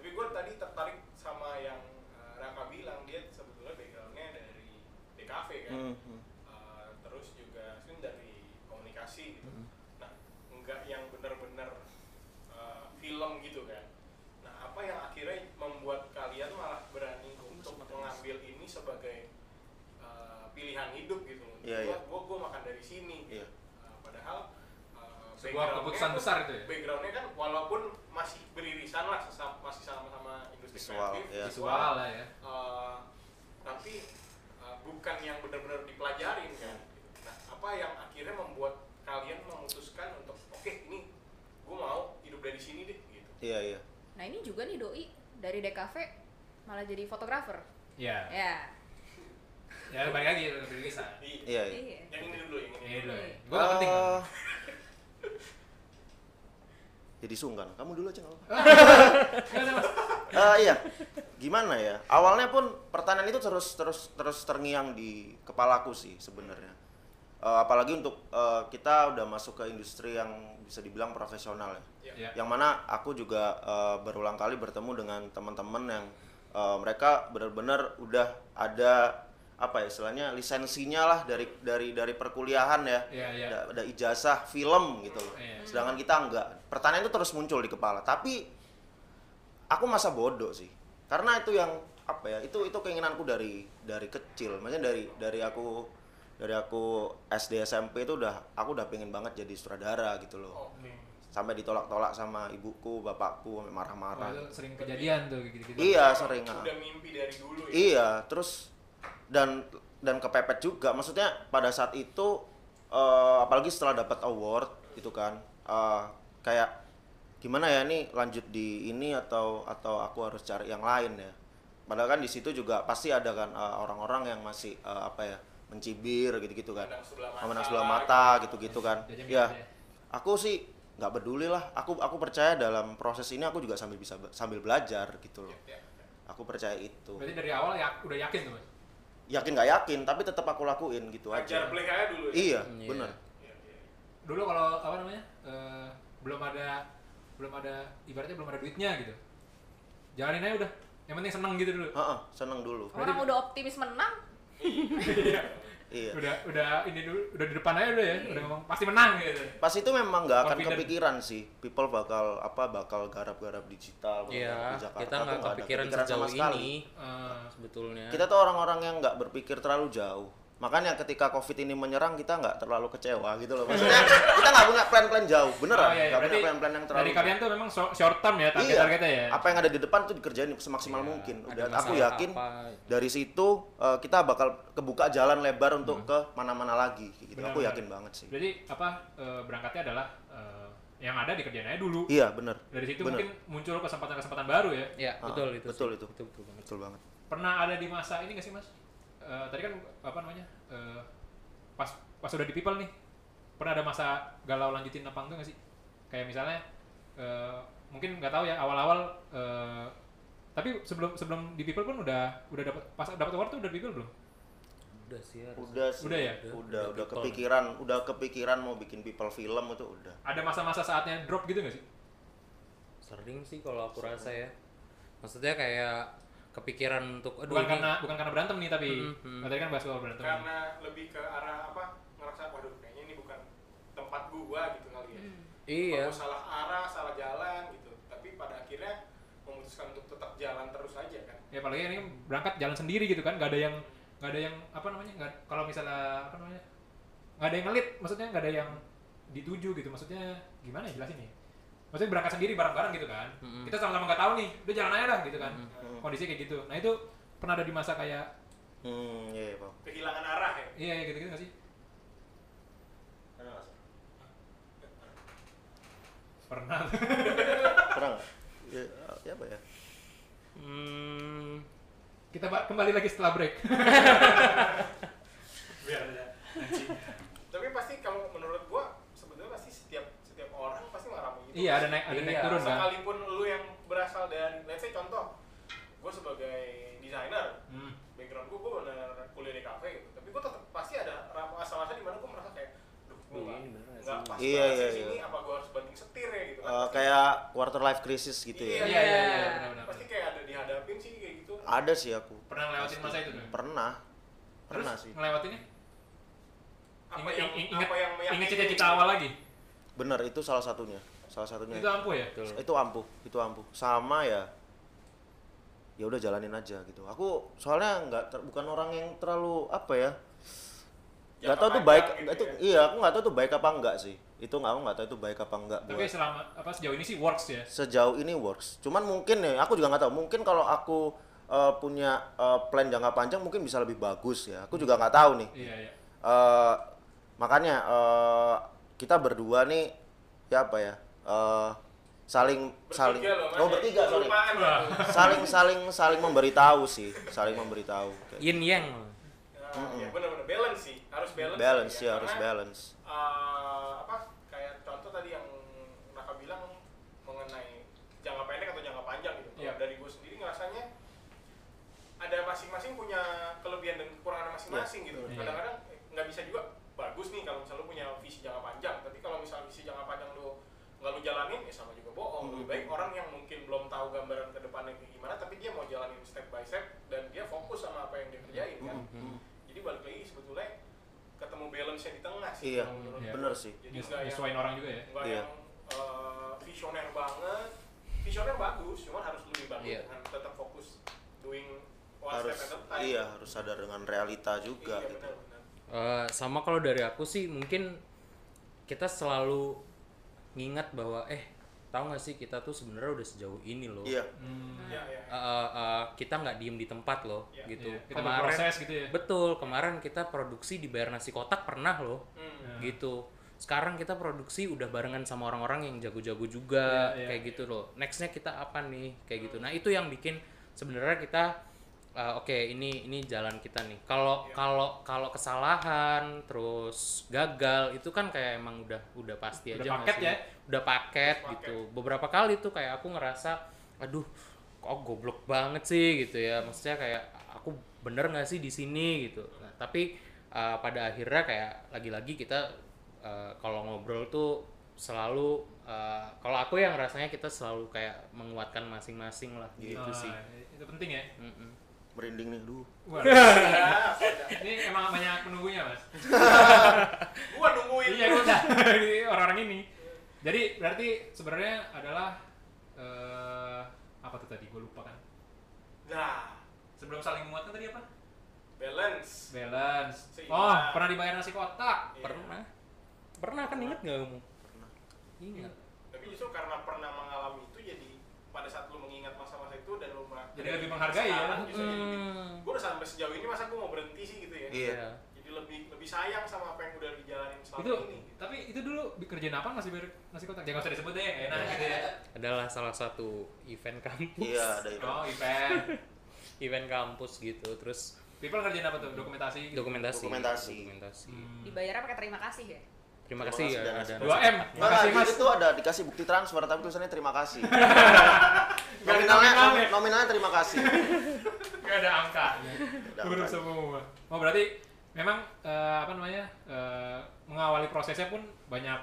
Speaker 1: Tapi gue tadi tertarik sama yang eh, Raka bilang dia sebetulnya backgroundnya dari DKV kan.
Speaker 5: Hmm, hmm.
Speaker 1: Uh, terus juga mungkin dari komunikasi gitu. Nah, enggak yang benar-benar uh, film gitu kan. Nah, apa yang akhirnya membuat kalian malah berani untuk mengambil ini sebagai uh, pilihan hidup gitu?
Speaker 5: Iya,
Speaker 1: gua,
Speaker 5: iya.
Speaker 1: gua gua makan dari sini.
Speaker 5: Iya.
Speaker 1: Uh, padahal uh,
Speaker 2: Sebuah
Speaker 1: background-nya
Speaker 2: keputusan
Speaker 1: tuh-
Speaker 2: besar itu ya?
Speaker 1: Backgroundnya kan walaupun masih beririsan lah, sesam- masih sama-sama industri
Speaker 5: Visual,
Speaker 1: kreatif,
Speaker 5: iya.
Speaker 2: visual lah ya
Speaker 1: Uh, tapi uh, bukan yang benar-benar dipelajarin kan. Nah, apa yang akhirnya membuat kalian memutuskan untuk oke ini gue mau hidup dari sini deh gitu.
Speaker 5: Iya iya.
Speaker 3: Nah ini juga
Speaker 4: Iya.
Speaker 3: nih doi dari DKV malah jadi fotografer.
Speaker 2: ya
Speaker 3: Ya.
Speaker 2: Iya. ya balik lagi ke rilisan
Speaker 1: Iya.
Speaker 5: Iya. iya.
Speaker 3: Iya.
Speaker 1: Yang ini dulu, yang ini.
Speaker 2: ini dulu ya gue gak
Speaker 5: Eh,
Speaker 2: penting kan?
Speaker 5: jadi sungkan. Kamu dulu aja nggak apa-apa.
Speaker 2: Gimana, Mas?
Speaker 5: Eh, iya. Gimana ya? Awalnya pun pertanyaan itu terus terus terus terngiang di kepalaku sih sebenarnya. Eh, apalagi untuk eh, kita udah masuk ke industri yang bisa dibilang profesional ya.
Speaker 2: ya
Speaker 5: Yang mana aku juga eh, berulang kali bertemu dengan teman-teman yang eh, mereka benar-benar udah ada apa ya istilahnya lisensinya lah dari dari dari perkuliahan ya.
Speaker 2: Iya, iya.
Speaker 5: Ada, ada ijazah film gitu loh.
Speaker 2: Iya.
Speaker 5: Sedangkan kita enggak. Pertanyaan itu terus muncul di kepala, tapi aku masa bodoh sih karena itu yang apa ya itu itu keinginanku dari dari kecil maksudnya dari dari aku dari aku SD SMP itu udah aku udah pengen banget jadi sutradara gitu loh
Speaker 1: Oke.
Speaker 5: sampai ditolak-tolak sama ibuku bapakku sampai
Speaker 2: Wah, itu
Speaker 5: marah-marah
Speaker 2: sering kejadian tuh gitu-gitu
Speaker 5: iya sering ah.
Speaker 1: Udah mimpi dari dulu ya.
Speaker 5: Iya, terus dan dan kepepet juga. Maksudnya pada saat itu eh, apalagi setelah dapat award gitu kan. eh, kayak gimana ya ini lanjut di ini atau atau aku harus cari yang lain ya. Padahal kan di situ juga pasti ada kan eh, orang-orang yang masih eh, apa ya mencibir gitu-gitu kan.
Speaker 1: Memandang sebelah mata.
Speaker 5: Memandang sebelah mata gitu-gitu kan.
Speaker 2: Jajam
Speaker 5: Ya.
Speaker 2: gitu ya.
Speaker 5: Aku sih nggak peduli lah. Aku aku percaya dalam proses ini aku juga sambil bisa be- sambil belajar gitu loh.
Speaker 1: Ya, ya.
Speaker 5: Aku percaya itu
Speaker 2: berarti dari awal ya udah yakin tuh mas
Speaker 5: yakin nggak yakin tapi tetap aku lakuin gitu
Speaker 1: Ajar
Speaker 5: aja
Speaker 1: black aja dulu ya.
Speaker 5: iya
Speaker 4: Iya.
Speaker 5: bener
Speaker 1: Iya, iya.
Speaker 2: dulu kalau apa namanya eh, belum ada belum ada ibaratnya belum ada duitnya gitu jalanin aja udah yang penting seneng gitu dulu
Speaker 5: Heeh, seneng dulu
Speaker 3: Orang udah optimis menang,
Speaker 5: iya
Speaker 2: udah udah ini dulu udah di depan aja udah ya udah ngomong pasti menang gitu
Speaker 5: pas itu memang nggak akan
Speaker 2: Confident.
Speaker 5: kepikiran sih people bakal apa bakal garap-garap digital bakal garap
Speaker 4: Iya,
Speaker 5: di Jakarta
Speaker 4: kita
Speaker 5: tuh
Speaker 4: nggak
Speaker 5: ada
Speaker 4: kepikiran
Speaker 5: sama
Speaker 4: sejauh
Speaker 5: sekali.
Speaker 4: ini
Speaker 2: Eh,
Speaker 4: sebetulnya.
Speaker 5: kita tuh orang-orang yang nggak berpikir terlalu jauh makanya ketika covid ini menyerang kita nggak terlalu kecewa gitu loh maksudnya kita nggak punya plan-plan jauh beneran
Speaker 2: oh, iya, iya.
Speaker 5: nggak punya
Speaker 2: Berarti
Speaker 5: plan-plan yang terlalu
Speaker 2: dari kalian tuh memang so- short term ya target targetnya ya
Speaker 5: Iya. apa yang ada di depan tuh dikerjain semaksimal
Speaker 4: Iya,
Speaker 5: mungkin.
Speaker 4: ada
Speaker 5: Udah aku
Speaker 4: masalah
Speaker 5: yakin
Speaker 4: apa.
Speaker 5: dari situ eh, kita bakal kebuka jalan lebar untuk ke mana-mana lagi kayak gitu.
Speaker 2: Benar, Hmm.
Speaker 5: aku
Speaker 2: Iya, benar.
Speaker 5: yakin banget sih.
Speaker 2: berarti apa eh, berangkatnya adalah eh, yang ada dikerjain aja dulu
Speaker 5: Iya, bener
Speaker 2: dari situ
Speaker 5: Bener.
Speaker 2: mungkin muncul kesempatan-kesempatan baru ya
Speaker 4: Ya,
Speaker 5: Ah,
Speaker 4: betul itu.
Speaker 5: betul
Speaker 4: sih.
Speaker 5: itu.
Speaker 4: Itu betul banget.
Speaker 5: Betul banget.
Speaker 2: pernah ada di masa ini gak sih mas Eh, tadi kan apa namanya eh, pas pas udah di people nih pernah ada masa galau lanjutin apa enggak gak sih kayak misalnya eh, mungkin nggak tahu ya awal-awal eh, tapi sebelum sebelum di people pun udah udah dapat pas dapat award tuh udah di people belum
Speaker 4: Udah sih harus.
Speaker 5: Udah sih.
Speaker 2: Udah ya?
Speaker 5: Udah,
Speaker 4: Udah
Speaker 5: udah
Speaker 4: people.
Speaker 5: kepikiran, udah kepikiran mau bikin people film itu udah.
Speaker 2: ada masa-masa saatnya drop gitu gak sih
Speaker 4: Sering sih kalau aku rasa ya. Maksudnya kayak kepikiran untuk aduh
Speaker 2: bukan
Speaker 4: ini
Speaker 2: karena bukan karena berantem nih tapi
Speaker 4: Hmm, hmm.
Speaker 2: tadi kan bahas soal berantem
Speaker 1: Karena lebih ke arah apa? Ngerasa waduh kayaknya ini bukan tempat gua gitu kali ya.
Speaker 4: iya.
Speaker 1: Aku salah arah, salah jalan gitu. Tapi pada akhirnya memutuskan untuk tetap jalan terus aja kan.
Speaker 2: ya apalagi ini berangkat jalan sendiri gitu kan nggak ada yang nggak ada yang apa namanya nggak kalau misalnya apa namanya nggak ada yang ngelit maksudnya nggak ada yang dituju gitu maksudnya gimana ya jelasin ya maksudnya berangkat sendiri bareng-bareng gitu kan
Speaker 4: Mm-mm.
Speaker 2: kita sama-sama nggak tahu nih udah jalan aja lah gitu kan
Speaker 1: Oh.
Speaker 2: kondisi kayak gitu nah itu pernah ada di masa kayak
Speaker 5: Hmm, iya, iya, Pak.
Speaker 1: Kehilangan arah ya.
Speaker 2: iya iya gitu gitu nggak sih pernah
Speaker 5: Pernah nggak? Ya, ya apa ya?
Speaker 4: Hmm,
Speaker 2: kita ba- kembali lagi setelah break
Speaker 1: Biar aja. Tapi pasti kalau menurut gua sebetulnya pasti setiap setiap orang pasti ngalami itu.
Speaker 2: iya ada naik ada naik
Speaker 4: Iya.
Speaker 2: turun kan
Speaker 1: Sekalipun lu yang berasal dari let's say contoh gua sebagai desainer
Speaker 2: Hmm.
Speaker 1: background gue, gue bener kuliah di kafe gitu tapi gue tetap pasti ada masa-masa di mana gue merasa kayak duh gue
Speaker 2: Iya,
Speaker 4: Duh,
Speaker 1: nggak
Speaker 4: ini beneran
Speaker 1: nggak
Speaker 4: sih.
Speaker 1: pas
Speaker 5: Iya,
Speaker 1: banget
Speaker 5: iya,
Speaker 1: sih
Speaker 5: iya.
Speaker 1: sini apa gue harus banting setir ya gitu kan
Speaker 5: Eh, kayak quarter life crisis gitu
Speaker 2: iya
Speaker 5: ya.
Speaker 1: Iya.
Speaker 2: iya iya iya, benar-benar
Speaker 1: pasti kayak ada dihadapin sih kayak gitu
Speaker 5: Ada sih aku.
Speaker 2: pernah ngelewatin masa itu kan
Speaker 5: Pernah. Pernah sih.
Speaker 2: ngelewatinnya
Speaker 1: apa
Speaker 2: Ingat-
Speaker 1: yang
Speaker 2: ing-
Speaker 1: apa yang
Speaker 2: ingat
Speaker 1: meyakini
Speaker 2: ingat cita-cita awal lagi
Speaker 5: Bener, itu salah satunya. Salah satunya.
Speaker 2: itu ampuh ya
Speaker 4: betul.
Speaker 5: itu ampuh itu ampuh sama ya ya udah jalanin aja gitu aku soalnya nggak ter- bukan orang yang terlalu apa ya
Speaker 1: Jangka
Speaker 5: nggak tahu tuh
Speaker 1: panjang
Speaker 5: baik
Speaker 1: gitu
Speaker 5: itu
Speaker 1: ya.
Speaker 5: iya aku nggak tahu tuh baik apa enggak sih itu nggak aku nggak tahu itu baik apa enggak
Speaker 2: tapi
Speaker 5: buat
Speaker 2: selama apa sejauh ini sih works ya
Speaker 5: sejauh ini works cuman mungkin ya aku juga nggak tahu mungkin kalau aku eh, punya eh, plan jangka panjang mungkin bisa lebih bagus ya aku juga nggak tahu nih
Speaker 2: iya iya
Speaker 5: eh makanya eh kita berdua nih ya apa ya eh saling saling
Speaker 1: Bertiga loh, Mas,
Speaker 5: oh
Speaker 1: ya.
Speaker 5: bertiga sorry
Speaker 1: Kelupaan loh. Iya,
Speaker 5: saling saling saling memberitahu sih saling memberitahu Kayak-
Speaker 4: Yin yang.
Speaker 1: Ya, ya benar-benar balance sih harus balance
Speaker 5: balance
Speaker 1: gitu
Speaker 5: ya harus
Speaker 1: Karena,
Speaker 5: balance
Speaker 1: eh, apa kayak contoh tadi yang Naka bilang mengenai jangka pendek atau jangka panjang gitu Kalau
Speaker 2: Iya.
Speaker 1: dari gue sendiri ngerasanya ada masing-masing punya kelebihan dan kekurangan masing-masing gitu
Speaker 2: Iya.
Speaker 1: kadang-kadang eh, nggak bisa juga bagus nih kalau misalnya lu punya visi jangka panjang tapi kalau misalnya visi jangka panjang lu nggak lu jalanin ya sama juga
Speaker 2: Iya.
Speaker 1: bohong lebih baik orang yang mungkin belum tahu gambaran ke depannya kayak gimana tapi dia mau jalanin step by step dan dia fokus sama apa yang dia kerjain kan
Speaker 2: Iya.
Speaker 1: jadi balik lagi sebetulnya ketemu balance nya di tengah sih
Speaker 5: Iya,
Speaker 1: kalau menurut
Speaker 2: iya.
Speaker 1: gua.
Speaker 5: bener sih
Speaker 1: jadi nggak yang
Speaker 2: nyesuaiin orang juga ya
Speaker 1: nggak
Speaker 5: Iya.
Speaker 1: yang eh, visioner banget visioner bagus cuman harus lebih bagus
Speaker 4: Iya.
Speaker 1: dengan tetap fokus doing one
Speaker 5: harus
Speaker 1: step at a time
Speaker 5: iya harus sadar dengan realita juga
Speaker 1: kan. iya,
Speaker 5: gitu
Speaker 1: benar-benar
Speaker 4: Eh, sama kalau dari aku sih mungkin kita selalu ngingat bahwa eh tahu nggak sih kita tuh sebenarnya udah sejauh ini loh.
Speaker 5: iya
Speaker 2: Hmm, Gitu.
Speaker 1: iya iya
Speaker 4: Eh, eh, eh, kita nggak diem di tempat loh
Speaker 1: Iya.
Speaker 4: gitu.
Speaker 2: Iya, kita berproses gitu ya
Speaker 4: betul kemarin kita produksi di bayar nasi kotak pernah loh
Speaker 1: Hmm.
Speaker 2: Nah,
Speaker 4: gitu. Sekarang kita produksi udah barengan sama orang-orang yang jago-jago juga
Speaker 2: Iya, Hmm. iya.
Speaker 4: kayak gitu loh. Nextnya kita apa nih kayak gitu. Nah itu yang bikin sebenarnya kita uh, oke ini ini jalan kita nih. Kalau
Speaker 1: Iya.
Speaker 4: kalau kalau kesalahan terus gagal itu kan kayak emang udah udah pasti
Speaker 2: Udah
Speaker 4: aja nggak
Speaker 2: paket
Speaker 4: sih?
Speaker 2: ya?
Speaker 4: Udah paket
Speaker 1: Udah
Speaker 4: gitu. Beberapa kali tuh kayak aku ngerasa aduh kok goblok banget sih gitu ya. Maksudnya kayak aku bener nggak sih di sini gitu. Nah, tapi uh, pada akhirnya kayak lagi-lagi kita uh, kalau ngobrol tuh selalu uh, kalau aku yang rasanya kita selalu kayak menguatkan masing-masing lah gitu
Speaker 2: nah,
Speaker 4: sih.
Speaker 2: itu penting ya
Speaker 4: Mm-mm.
Speaker 5: merinding nih aduh
Speaker 2: Waduh,
Speaker 1: Ya, sudah.
Speaker 2: ini emang banyak penunggunya mas
Speaker 1: gua nungguin
Speaker 2: iya gue udah Ini orang-orang ini jadi berarti sebenarnya adalah eh apa tuh tadi gue lupa kan
Speaker 1: nah
Speaker 2: sebelum saling menguatkan tadi apa
Speaker 1: balance
Speaker 2: balance
Speaker 1: Seimbang.
Speaker 2: oh pernah dibayar nasi kotak
Speaker 1: Iya.
Speaker 4: Pernah? Pernah kan inget nggak kamu?
Speaker 5: Pernah.
Speaker 4: Ingat.
Speaker 1: tapi justru karena pernah mengalami itu jadi pada saat lu mengingat masa-masa itu dan lu mer-
Speaker 2: Jadi lebih menghargai ya.
Speaker 1: sekarang justru jadi lebih-
Speaker 4: Hmm.
Speaker 1: gua udah sampai sejauh ini masa gua mau berhenti sih gitu ya
Speaker 5: iya
Speaker 4: Iya.
Speaker 1: jadi lebih lebih sayang sama apa yang udah dijalanin selama
Speaker 2: itu
Speaker 1: ini gitu.
Speaker 2: tapi itu dulu kerjaan apa masih bayar nasi kotak jangan Ya, usah disebut deh enak gitu ya
Speaker 4: Adalah salah satu event kampus.
Speaker 5: iya ada itu
Speaker 2: oh event
Speaker 4: event kampus gitu. Terus
Speaker 2: people kerjaan apa tuh dokumentasi gitu.
Speaker 4: dokumentasi.
Speaker 5: Dokumentasi.
Speaker 4: Dokumentasi.
Speaker 2: Hmm.
Speaker 3: Dibayarnya pakai terima kasih ya.
Speaker 4: Terima
Speaker 5: Terima
Speaker 4: kasih
Speaker 5: kasih
Speaker 4: ya
Speaker 5: dan
Speaker 4: ada.
Speaker 5: respon.
Speaker 2: dua m
Speaker 5: Enggak,
Speaker 2: makasih
Speaker 5: enggak,
Speaker 2: mas
Speaker 5: jadi itu ada dikasih bukti transfer tapi tulisannya terima kasih.
Speaker 2: Nggak ada
Speaker 5: nominalnya,
Speaker 2: nominalnya.
Speaker 1: ya.
Speaker 5: nom- nominalnya terima kasih.
Speaker 2: Gak ada angkanya.
Speaker 5: Ada
Speaker 2: Huruf
Speaker 5: angkanya.
Speaker 2: semua. Oh berarti memang eh, apa namanya eh, mengawali prosesnya pun banyak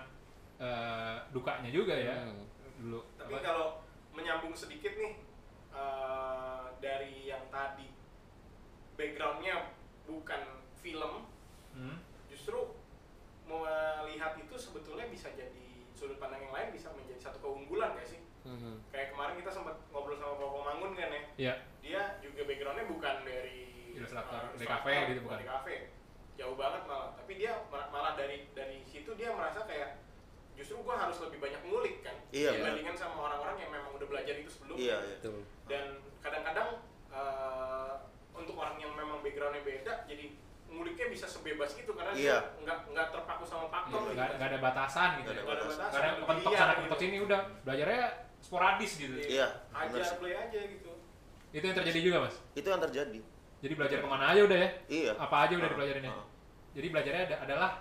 Speaker 2: eh, dukanya juga ya
Speaker 4: Hmm.
Speaker 2: dulu.
Speaker 1: tapi
Speaker 2: Apa?
Speaker 1: kalau menyambung sedikit nih eh, dari yang tadi backgroundnya bukan film
Speaker 2: Hmm.
Speaker 1: justru melihat itu sebetulnya bisa jadi sudut pandang yang lain bisa menjadi satu keunggulan gak sih
Speaker 4: Mhm.
Speaker 1: kayak kemarin kita sempat ngobrol sama Pak Mangun kan ya
Speaker 2: Ya.
Speaker 1: dia juga backgroundnya bukan dari
Speaker 2: Ilustrator,
Speaker 1: eh,
Speaker 2: DKV
Speaker 1: ilustrator,
Speaker 2: gitu, bukan?
Speaker 1: DKV. jauh banget malah tapi dia ma- malah dari dari situ dia merasa kayak justru gua harus lebih banyak ngulik kan
Speaker 5: Iya,
Speaker 1: dibandingkan sama orang-orang yang memang udah belajar itu sebelumnya
Speaker 5: Iya, iya.
Speaker 4: Betul.
Speaker 1: dan kadang-kadang eh, untuk orang yang memang backgroundnya beda jadi nguliknya bisa sebebas gitu karena
Speaker 5: Iya.
Speaker 1: dia nggak nggak terpaku sama faktor
Speaker 2: Gak,
Speaker 1: gitu.
Speaker 2: gak Iya, ada batasan gitu.
Speaker 5: Nggak
Speaker 2: ya.
Speaker 5: ada
Speaker 1: batasan,
Speaker 2: Gak ada
Speaker 1: lebih
Speaker 2: kepentok
Speaker 1: liar
Speaker 2: sana
Speaker 1: gitu.
Speaker 2: kepentok sini udah belajarnya sporadis gitu.
Speaker 5: Iya, bener
Speaker 1: ajar
Speaker 5: sih.
Speaker 1: play aja gitu
Speaker 2: Itu yang terjadi juga mas.
Speaker 5: Itu yang terjadi.
Speaker 2: Jadi belajar kemana aja udah ya.
Speaker 5: Iya.
Speaker 2: Apa aja udah
Speaker 5: Ah,
Speaker 2: dipelajarin ya.
Speaker 5: ah.
Speaker 2: Jadi belajarnya ada- adalah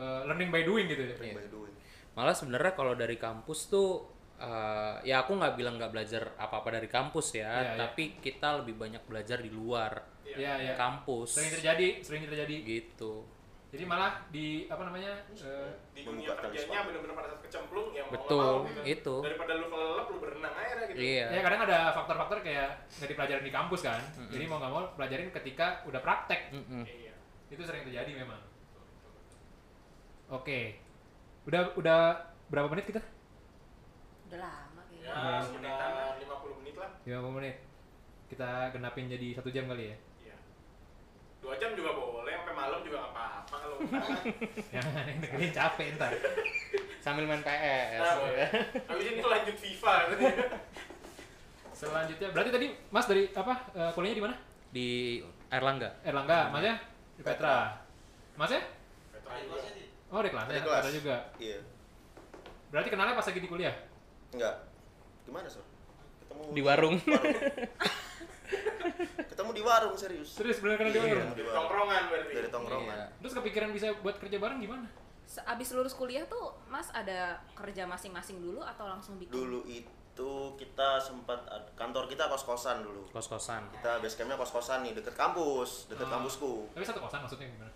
Speaker 2: eh, learning by doing gitu ya.
Speaker 5: By the way.
Speaker 4: Malah sebenarnya kalau dari kampus tuh eh, ya aku nggak bilang nggak belajar apa-apa dari kampus
Speaker 2: Iya,
Speaker 4: ya,
Speaker 2: iya.
Speaker 4: tapi kita lebih banyak belajar di luar
Speaker 2: Iya ya.
Speaker 4: kampus.
Speaker 2: Sering terjadi, sering terjadi.
Speaker 4: gitu.
Speaker 2: Jadi malah di apa namanya? eh,
Speaker 1: di dunia
Speaker 5: Membuka
Speaker 1: kerjanya
Speaker 5: teleskop.
Speaker 1: benar-benar pada saat kecemplung ya mau nggak
Speaker 4: Betul,
Speaker 1: mau, gitu.
Speaker 4: itu.
Speaker 1: daripada lu kelelep lu berenang aja dah, gitu
Speaker 4: Iya.
Speaker 2: Ya kadang ada faktor-faktor kayak nggak dipelajarin di kampus kan, jadi mau nggak mau pelajarin ketika udah praktek
Speaker 4: Mm-mm.
Speaker 1: Iya.
Speaker 2: itu sering terjadi memang. Oke, udah udah berapa menit kita?
Speaker 3: Udah lama kayaknya.
Speaker 1: ya sekitar 50 menit lah
Speaker 2: 50 menit. Kita genapin jadi satu jam kali ya.
Speaker 1: Iya. dua jam juga boleh sampai malam juga nggak apa-apa kalau nggak.
Speaker 2: Jangan yang dengerin capek ntar.
Speaker 4: Sambil main PS.
Speaker 1: Nah, habis ini lanjut FIFA gitu ya.
Speaker 4: Iya.
Speaker 2: Selanjutnya berarti tadi Mas dari apa eh, kuliahnya di mana?
Speaker 4: Di Erlangga.
Speaker 2: Erlangga, Mas ya? Di Petra. Mas ya?
Speaker 1: Petra juga.
Speaker 2: Oh di kelas
Speaker 5: Dari
Speaker 2: ya,
Speaker 5: kelas.
Speaker 2: Petra juga.
Speaker 5: Iya.
Speaker 2: Berarti kenalnya pas lagi di kuliah?
Speaker 5: Enggak. Gimana, Sur? Ketemu
Speaker 4: Di warung.
Speaker 5: Ketemu di warung serius.
Speaker 2: Serius bener karena di warung.
Speaker 5: Ketemu di warung.
Speaker 1: tongkrongan berarti
Speaker 5: Dari tongkrongan.
Speaker 2: Iya. Terus kepikiran bisa buat kerja bareng gimana?
Speaker 3: Se- Abis lulus kuliah tuh Mas ada kerja masing-masing dulu atau langsung bikin?
Speaker 5: Dulu itu kita sempat ad- kantor kita kos-kosan dulu.
Speaker 4: kos-kosan
Speaker 5: Kita base campnya kos-kosan nih deket kampus, deket
Speaker 2: Ah.
Speaker 5: kampusku.
Speaker 2: Tapi satu kosan maksudnya gimana?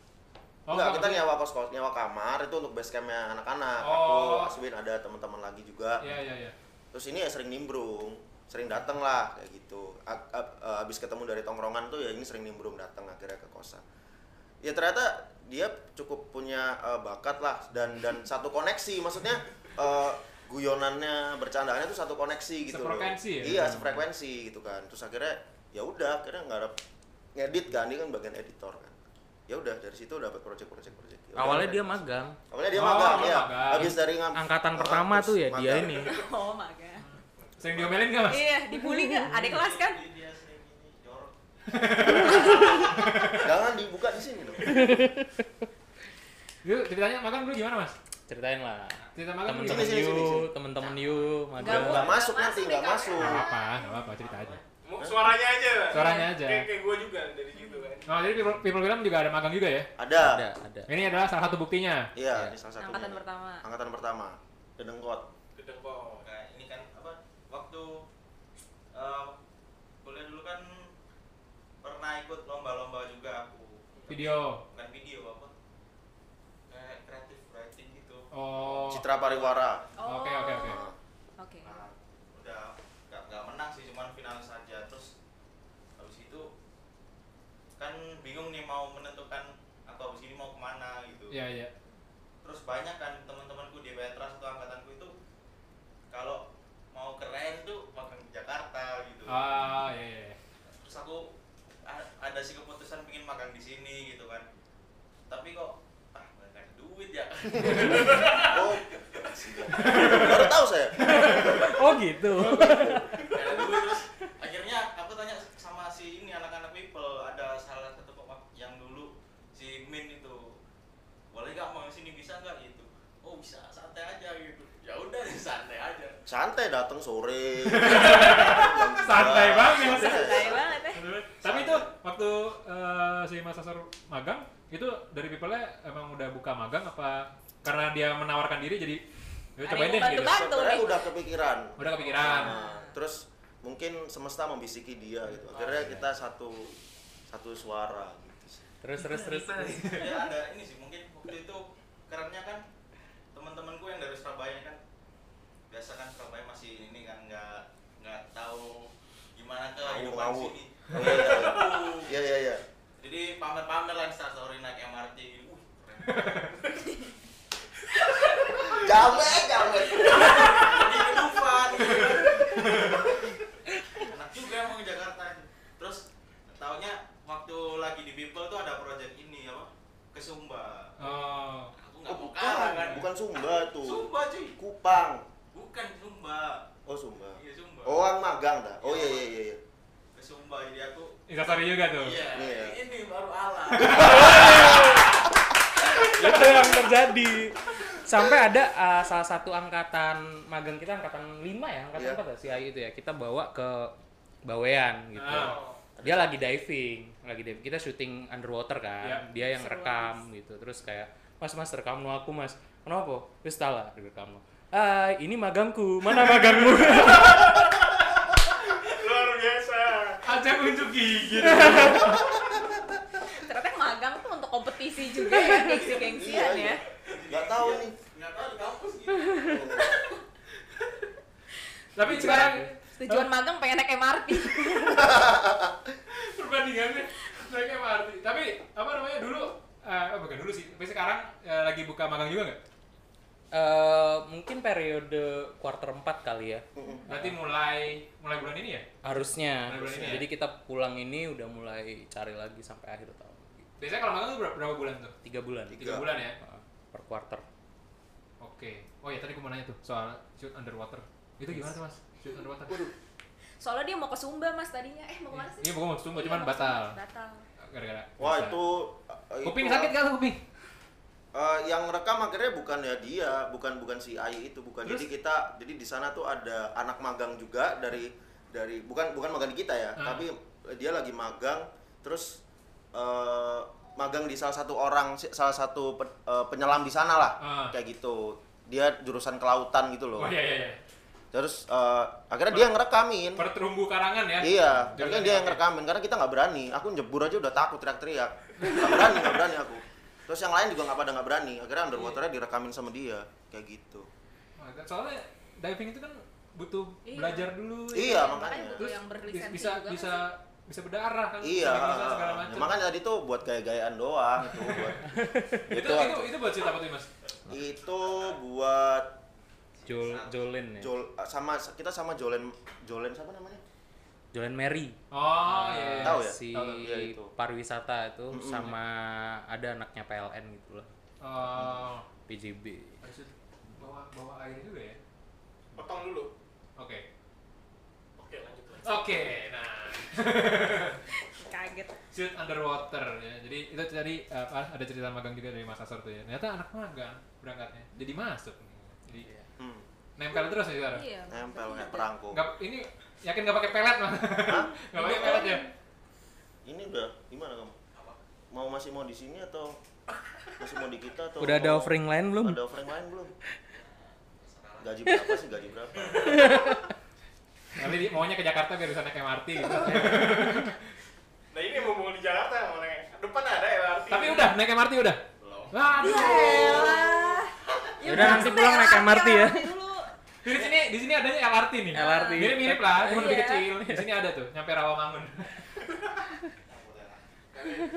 Speaker 2: Oh,
Speaker 5: Enggak, kita
Speaker 2: maksudnya-
Speaker 5: nyewa kos kos nyewa kamar itu untuk base campnya anak-anak.
Speaker 2: Oh.
Speaker 5: Aku Aswin ada teman-teman lagi juga.
Speaker 2: Iya iya iya.
Speaker 5: Terus ini ya sering nimbrung, sering dateng lah kayak gitu. A- a- a- Abis ketemu dari tongkrongan tuh ya ini sering nimbrung dateng akhirnya ke kosan. Ya ternyata dia cukup punya eh, bakat lah dan dan satu koneksi maksudnya eh, guyonannya bercandaannya tuh satu koneksi gitu loh.
Speaker 2: Sefrekuensi ya?
Speaker 5: Iya, sefrekuensi gitu kan. Terus akhirnya ya udah akhirnya nggak ada ngedit kan dia kan bagian editor kan. Ya udah dari situ dapat project-project project. Ya udah,
Speaker 4: awalnya dia
Speaker 5: ngedit.
Speaker 4: magang
Speaker 5: Awalnya dia
Speaker 2: Oh,
Speaker 5: magang
Speaker 2: dia
Speaker 5: ya.
Speaker 2: magang.
Speaker 5: Habis dari ngam-
Speaker 4: angkatan
Speaker 5: ngam-
Speaker 4: pertama
Speaker 5: terus
Speaker 4: tuh ya dia
Speaker 5: magang.
Speaker 4: ini
Speaker 3: Oh my god.
Speaker 2: Sering diomelin gak mas?
Speaker 3: Iya, dibully gak? Ada kelas kan?
Speaker 1: dia sering ini jorok
Speaker 5: Jangan dibuka di sini dong.
Speaker 2: Yuk ceritanya makan dulu gimana mas?
Speaker 4: ceritain lah
Speaker 2: Cerita makan dulu.
Speaker 4: temen-temen
Speaker 5: Sini, sini,
Speaker 4: you
Speaker 5: sini, sini.
Speaker 4: temen-temen you
Speaker 5: Nggak
Speaker 3: mau-
Speaker 4: magang
Speaker 5: Nggak masuk
Speaker 3: nggak
Speaker 5: nanti,
Speaker 3: masuk
Speaker 5: nggak
Speaker 3: di
Speaker 5: masuk.
Speaker 2: Gak
Speaker 3: kamera.
Speaker 2: apa, gak apa, cerita aja.
Speaker 1: Mu- suaranya aja
Speaker 2: Suaranya aja.
Speaker 1: kayak kayak gue juga dari situ kan
Speaker 2: Oh jadi people, people film juga ada magang juga ya?
Speaker 5: Ada.
Speaker 4: ada ada
Speaker 2: Ini adalah salah satu buktinya.
Speaker 5: Iya,
Speaker 4: Iya.
Speaker 5: ini salah satunya.
Speaker 3: Angkatan pertama.
Speaker 5: Angkatan pertama. Dedengkot.
Speaker 1: gedeng kok
Speaker 6: Nah, ini kan apa? Waktu eh kuliah dulu kan pernah ikut lomba-lomba juga aku.
Speaker 2: Video.
Speaker 6: Bukan video apa? Kayak kreatif writing gitu.
Speaker 2: Oh.
Speaker 5: Citra Pariwara.
Speaker 3: Oh.
Speaker 2: Oke, oke, oke.
Speaker 5: Nah,
Speaker 3: Oke.
Speaker 6: Nah, udah nggak nggak menang sih, cuman finalis saja. Terus habis itu kan bingung nih mau menentukan aku habis ini mau kemana gitu.
Speaker 2: Iya iya.
Speaker 6: terus banyak kan teman-temanku di Petras atau angkatanku itu kalau mau keren tuh makan ke Jakarta gitu
Speaker 2: Ah iya iya. iya.
Speaker 6: terus aku a- ada sih keputusan pengen makan di sini gitu kan tapi kok ah nggak ada duit ya
Speaker 5: Oh. Baru tahu saya.
Speaker 4: oh gitu
Speaker 6: nggak ada duit terus akhirnya aku tanya sama si ini anak-anak people ada salah satu pokok yang dulu si Min itu boleh nggak mau sini bisa nggak gitu oh bisa santai aja gitu ya udah santai aja
Speaker 5: Santai datang sore.
Speaker 2: Santai banget.
Speaker 3: Santai banget ya.
Speaker 2: Tapi itu waktu eh, si Mas Asar magang itu dari people-nya emang udah buka magang apa karena dia menawarkan diri jadi "Yuk,
Speaker 3: Ada
Speaker 2: cobain
Speaker 3: yang
Speaker 2: deh gitu.
Speaker 3: membantu-bantu.
Speaker 5: Sebenarnya udah kepikiran.
Speaker 2: Udah kepikiran.
Speaker 5: Nah, terus mungkin semesta membisiki dia gitu. Akhirnya kita satu satu suara gitu sih.
Speaker 4: terus terus terus
Speaker 6: ya ada ini sih mungkin waktu itu kerennya kan teman-temanku yang dari Surabaya kan biasa kan Surabaya masih ini kan nggak nggak tahu gimana kehidupan
Speaker 5: Ngawur,
Speaker 6: sini
Speaker 5: Oh, iya, iya, iya. Iya iya iya.
Speaker 6: jadi pamer-pamer lah instastory naik MRT gitu Wih, keren.
Speaker 5: Jamet, jamet.
Speaker 6: Jadi kehidupan gitu. enak juga emang ke Jakarta terus taunya waktu lagi di People tuh ada project ini apa ke Sumba
Speaker 2: Oh.
Speaker 5: Oh,
Speaker 6: aku nggak mau
Speaker 5: bukan,
Speaker 6: kalah kan
Speaker 5: bukan Sumba tuh.
Speaker 6: Sumba cuy
Speaker 5: Kupang.
Speaker 6: bukan Sumba
Speaker 5: Oh Sumba.
Speaker 6: iya Sumba
Speaker 5: Orang magang dah. Oh iya iya iya. iya.
Speaker 6: ke Sumba jadi aku
Speaker 2: Instastory juga tuh.
Speaker 6: iya
Speaker 5: Iya.
Speaker 6: ini baru ala
Speaker 4: itu yang terjadi sampai ada uh, salah satu angkatan magang kita angkatan 5 ya angkatan
Speaker 5: Iya.
Speaker 4: empat ya si Ayu itu ya kita bawa ke Bawean gitu
Speaker 2: Oh.
Speaker 4: dia lagi diving lagi diving kita syuting underwater
Speaker 2: Iya.
Speaker 4: kan dia yang
Speaker 3: Seru
Speaker 4: rekam gitu terus kayak mas mas rekam no aku mas kenapa terus salah direkam no ah ini magangku mana magangmu
Speaker 1: luar biasa
Speaker 2: Ajak unjuk gigi.
Speaker 3: Ternyata magang tuh untuk kompetisi juga ya, gengsi-gengsian ya.
Speaker 5: Gak Iya, tahu
Speaker 2: Iya.
Speaker 5: nih.
Speaker 6: nggak tahu di kampus gitu
Speaker 2: Tapi sekarang
Speaker 3: Tujuan magang pengen naik MRT.
Speaker 2: perbandingannya naik MRT. Tapi apa namanya dulu eh bukan dulu sih, tapi sekarang eh, lagi buka magang juga nggak?
Speaker 4: Eh, mungkin periode quarter 4 kali ya
Speaker 5: Oh,
Speaker 2: Berarti mulai mulai bulan ini ya?
Speaker 4: harusnya,
Speaker 2: Mulai bulan ini ya?
Speaker 4: jadi kita pulang ini udah mulai cari lagi sampai akhir tahun
Speaker 2: Biasanya kalau magang tuh berapa, berapa bulan tuh?
Speaker 4: tiga bulan
Speaker 2: Tiga bulan ya.
Speaker 4: Uh, per quarter
Speaker 2: Oke. Oh ya tadi gue mau nanya tuh soal shoot underwater. Itu gimana tuh mas? Shoot underwater?
Speaker 3: Soalnya dia mau ke Sumba Mas tadinya. Eh, mau kemana sih?
Speaker 2: Iya, gue mau sumba,
Speaker 3: Iya,
Speaker 2: cuman
Speaker 3: mau ke
Speaker 2: batal.
Speaker 3: Sumba, Batal.
Speaker 2: Gara-gara.
Speaker 5: Wah
Speaker 2: bisa.
Speaker 5: itu. eh, itu,
Speaker 2: Kuping sakit kan kuping?
Speaker 5: eh, yang rekam akhirnya bukan ya dia, bukan bukan si Ai itu bukan.
Speaker 2: Terus?
Speaker 5: Jadi kita, jadi di sana tuh ada anak magang juga dari dari bukan bukan magang di kita ya,
Speaker 2: Ah.
Speaker 5: tapi dia lagi magang terus eh, magang di salah satu orang si- salah satu pe- eh, penyelam di sana lah
Speaker 2: Ah.
Speaker 5: kayak gitu dia jurusan kelautan gitu loh
Speaker 2: Oh iya iya iya.
Speaker 5: terus eh, akhirnya dia ngerekamin
Speaker 2: Per terumbu karangan ya.
Speaker 5: Iya,
Speaker 2: Jurusan
Speaker 5: akhirnya dia yang
Speaker 2: kelautan.
Speaker 5: ngerekamin karena kita nggak berani. Aku nyebur aja udah takut teriak-teriak. Nggak berani, nggak berani aku. Terus yang lain juga nggak pada nggak berani. Akhirnya underwaternya direkamin sama dia, kayak gitu.
Speaker 2: Nah, Soalnya diving itu kan butuh
Speaker 3: Iya.
Speaker 2: belajar dulu.
Speaker 5: Iya,
Speaker 2: kan?
Speaker 5: makanya.
Speaker 3: butuh yang berlisensi
Speaker 2: bisa
Speaker 3: juga
Speaker 2: bisa
Speaker 3: kan
Speaker 2: bisa berdarah kan.
Speaker 5: Iya,
Speaker 2: Bisa segala macam.
Speaker 5: makanya tadi tuh buat gaya-gayaan doang itu buat
Speaker 2: itu,
Speaker 5: itu
Speaker 2: itu itu buat cerita apa tuh mas?
Speaker 5: itu buat
Speaker 4: Jol Jolen ya.
Speaker 5: Jol, sama kita sama Jolen Jolen siapa namanya?
Speaker 4: Jolen Mary. Eh,
Speaker 2: Oh iya. iya.
Speaker 5: Tahu ya?
Speaker 4: Si
Speaker 5: Tahu, tahu. Iya, itu.
Speaker 4: pariwisata itu sama ada anaknya PLN gitu lah.
Speaker 2: Oh
Speaker 4: PJB.
Speaker 2: harus bawa bawa air juga ya.
Speaker 1: potong dulu
Speaker 2: Oke.
Speaker 1: oke lanjut lagi
Speaker 2: Oke, nah
Speaker 3: kaget
Speaker 2: shoot underwater ya. Jadi itu tadi eh, apa, ada cerita magang juga dari Mas Asar tuh ya. Ternyata anak magang berangkatnya. Jadi masuk. nih. Jadi
Speaker 5: Hmm,
Speaker 2: nempel terus ya sekarang.
Speaker 3: iya
Speaker 5: nempel kayak
Speaker 3: perang
Speaker 5: perangko.
Speaker 2: Nggak, ini yakin nggak pakai pelet mas? Nggak pakai pelet ya?
Speaker 5: Ini udah gimana kamu? Mau masih mau di sini atau masih mau di kita atau
Speaker 4: Udah ada
Speaker 5: mau-
Speaker 4: offering lain belum?
Speaker 5: Ada offering lain belum? Gaji berapa sih? Gaji berapa?
Speaker 2: Nanti di- maunya ke Jakarta biar bisa naik MRT gitu.
Speaker 1: nah ini yang mumpung di Jakarta yang mana depan ada ya, LRT
Speaker 2: Tapi udah naik MRT udah.
Speaker 1: belum
Speaker 2: Waduh.
Speaker 3: Iya.
Speaker 4: Ya udah, nanti pulang naik MRT ya.
Speaker 2: Di sini di sini adanya LRT nih.
Speaker 4: LRT.
Speaker 2: Mirip mirip lah, cuma lebih
Speaker 3: Iya.
Speaker 2: kecil. Di sini ada tuh, nyampe Rawamangun.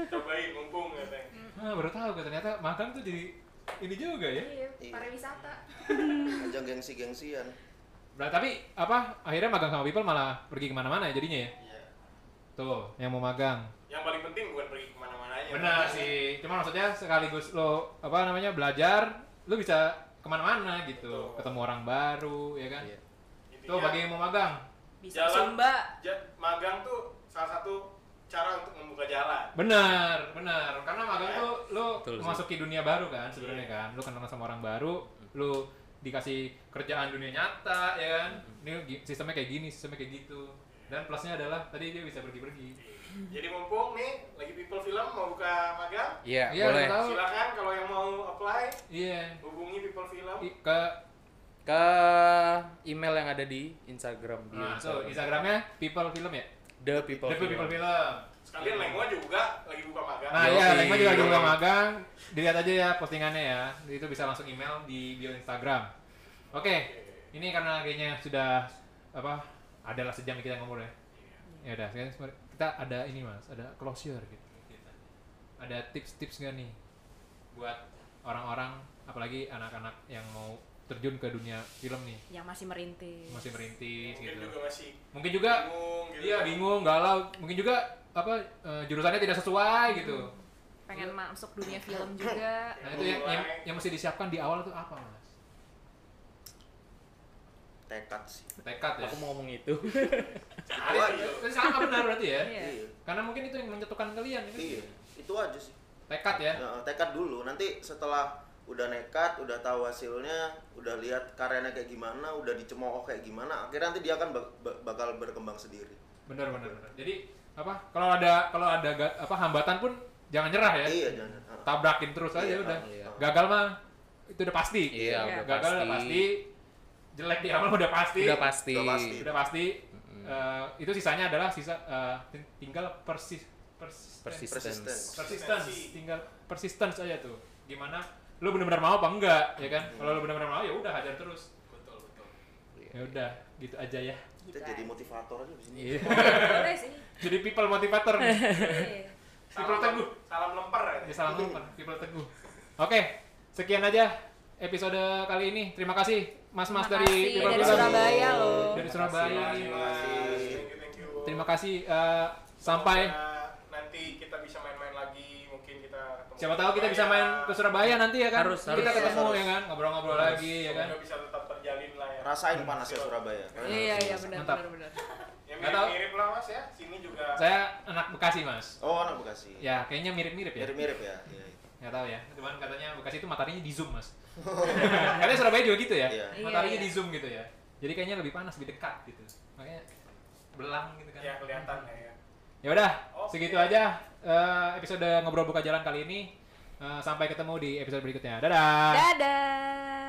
Speaker 1: cobain mumpung ya Teng.
Speaker 2: Ah, baru tahu gue ternyata magang tuh jadi ini juga ya.
Speaker 3: iya pariwisata
Speaker 5: Ajang gengsi-gengsian.
Speaker 2: Nah, tapi apa akhirnya magang sama people malah pergi kemana-mana ya jadinya ya?
Speaker 1: Iya.
Speaker 2: Tuh, yang mau magang.
Speaker 1: yang paling penting bukan pergi kemana-mananya
Speaker 2: Benar sih. Cuma maksudnya sekaligus lo apa namanya belajar, lo bisa kemana-mana gitu,
Speaker 1: Betul.
Speaker 2: ketemu orang baru ya kan.
Speaker 4: Iya.
Speaker 1: Intinya,
Speaker 2: Tuh bagi yang mau magang.
Speaker 3: bisa
Speaker 1: Jalan.
Speaker 3: Sumba
Speaker 1: ja- magang tuh salah satu cara untuk membuka jalan
Speaker 2: Benar, benar. Karena magang tuh lo
Speaker 4: Iya. Betul sih. Iya.
Speaker 2: memasuki dunia baru kan sebenarnya kan. Lo kenal sama orang baru,
Speaker 4: Hmm.
Speaker 2: lo dikasih kerjaan dunia nyata ya kan.
Speaker 4: Hmm.
Speaker 2: Ini gi- sistemnya kayak gini, sistemnya kayak gitu. Dan plusnya adalah tadi dia bisa pergi-pergi.
Speaker 1: jadi mumpung nih lagi people film mau buka magang
Speaker 4: Iya,
Speaker 2: Iya,
Speaker 4: boleh.
Speaker 2: udah tahu.
Speaker 1: silakan kalau yang mau apply
Speaker 2: Iya.
Speaker 1: hubungi people film
Speaker 2: I- Ke
Speaker 4: Ke email yang ada di Instagram di
Speaker 2: nah, so Instagramnya people film ya.
Speaker 4: The People.
Speaker 2: The People,
Speaker 4: Film.
Speaker 2: Film.
Speaker 1: sekalian lengua juga lagi buka magang
Speaker 2: Nah ya,
Speaker 4: Yoi.
Speaker 2: Lengma juga lagi buka magang. Dilihat aja ya postingannya ya. Itu bisa langsung email di bio Instagram. Oke, ini karena kayaknya sudah apa? Adalah sejam kita ngobrol ya. Ya udah, sekarang semar- kita ada ini mas, ada closure gitu. Ada tips-tips gak nih buat orang-orang, apalagi anak-anak yang mau terjun ke dunia film nih,
Speaker 3: yang masih merintis
Speaker 2: masih merintis
Speaker 1: mungkin
Speaker 2: gitu.
Speaker 1: juga masih
Speaker 2: Mungkin juga
Speaker 1: bingung gitu
Speaker 2: Iya bingung, galau, mungkin juga apa eh, jurusannya tidak sesuai gitu.
Speaker 3: pengen masuk dunia film juga
Speaker 2: Nah itu yang, yang, yang mesti disiapkan di awal itu apa mas?
Speaker 5: Tekad sih.
Speaker 2: Tekad ya.
Speaker 4: Aku mau ngomong itu.
Speaker 2: Tapi itu sama benar berarti ya.
Speaker 3: iya
Speaker 5: Iya.
Speaker 2: Karena mungkin itu yang menyatukan kalian. ya kan?
Speaker 5: Iya. Itu aja sih.
Speaker 2: Tekad ya.
Speaker 5: Nah, tekad dulu. Nanti setelah udah nekat, udah tahu hasilnya, udah lihat karyanya kayak gimana, udah dicemooh kayak gimana, akhirnya nanti dia akan bak- bak- bakal berkembang sendiri.
Speaker 2: Benar benar benar. Jadi apa? Kalau ada kalau ada ga- apa hambatan pun jangan nyerah
Speaker 4: Eh.
Speaker 2: ya.
Speaker 5: Iya, jangan. Ah.
Speaker 2: Tabrakin terus aja
Speaker 5: Iya,
Speaker 2: udah.
Speaker 4: iya.
Speaker 2: Gagal mah itu udah pasti.
Speaker 4: Iya,
Speaker 3: Iya.
Speaker 4: udah
Speaker 2: Gagal udah pasti. Jelek di awal udah pasti.
Speaker 4: Udah pasti.
Speaker 5: Udah pasti.
Speaker 2: Udah pasti. Eh, itu sisanya adalah sisa eh, ting- tinggal persis persis
Speaker 4: Persistence.
Speaker 2: persistence tinggal persistence aja tuh gimana lu benar-benar mau apa enggak ya kan kalau lu benar-benar mau ya udah hajar terus
Speaker 1: betul betul
Speaker 2: ya udah gitu aja ya
Speaker 5: Kita jadi motivator aja di sini.
Speaker 4: Iya.
Speaker 3: boleh sih
Speaker 2: jadi people motivator nih.
Speaker 3: Iya.
Speaker 2: people teguh
Speaker 1: salam lemper ya
Speaker 2: ya salam lupa people teguh oke sekian aja episode kali ini terima kasih mas-mas
Speaker 3: Terima
Speaker 2: dari
Speaker 3: kasih,
Speaker 2: People
Speaker 3: dari
Speaker 2: Plus.
Speaker 3: Surabaya loh
Speaker 2: dari Surabaya
Speaker 1: Terima kasih. Thank you, thank you.
Speaker 2: terima kasih eh, sampai
Speaker 1: Semoga nanti kita bisa main-main lagi mungkin kita ketemu
Speaker 2: siapa tahu kita bisa main ke Surabaya nanti ya kan
Speaker 4: Harus,
Speaker 2: kita
Speaker 4: harus.
Speaker 2: ketemu
Speaker 5: Harus.
Speaker 2: ya kan ngobrol-ngobrol lagi ya kan
Speaker 1: Semoga bisa tetap terjalin lah ya
Speaker 5: Rasain panasnya Surabaya.
Speaker 3: iya iya benar
Speaker 2: Mantap.
Speaker 3: benar benar
Speaker 1: ya
Speaker 2: Nggak tahu.
Speaker 1: mirip-mirip lah mas ya sini juga
Speaker 2: saya anak Bekasi mas
Speaker 5: Oh, anak Bekasi.
Speaker 4: Iya.
Speaker 2: ya kayaknya mirip-mirip ya
Speaker 5: Mirip-mirip ya. Iya.
Speaker 2: nggak tahu ya cuman katanya Bekasi itu mataharinya di zoom mas katanya Surabaya juga gitu ya
Speaker 5: Iya.
Speaker 2: mataharinya
Speaker 3: Iya,
Speaker 2: di
Speaker 3: iya.
Speaker 2: zoom gitu ya
Speaker 1: Iya,
Speaker 2: jadi kayaknya lebih panas lebih dekat gitu makanya belang gitu kan
Speaker 1: ya kelihatan lah ya
Speaker 2: ya Ya udah,
Speaker 1: Oke.
Speaker 2: segitu aja eh, episode ngobrol buka jalan kali ini. Eh, sampai ketemu di episode berikutnya. Dadah.
Speaker 3: Dadah.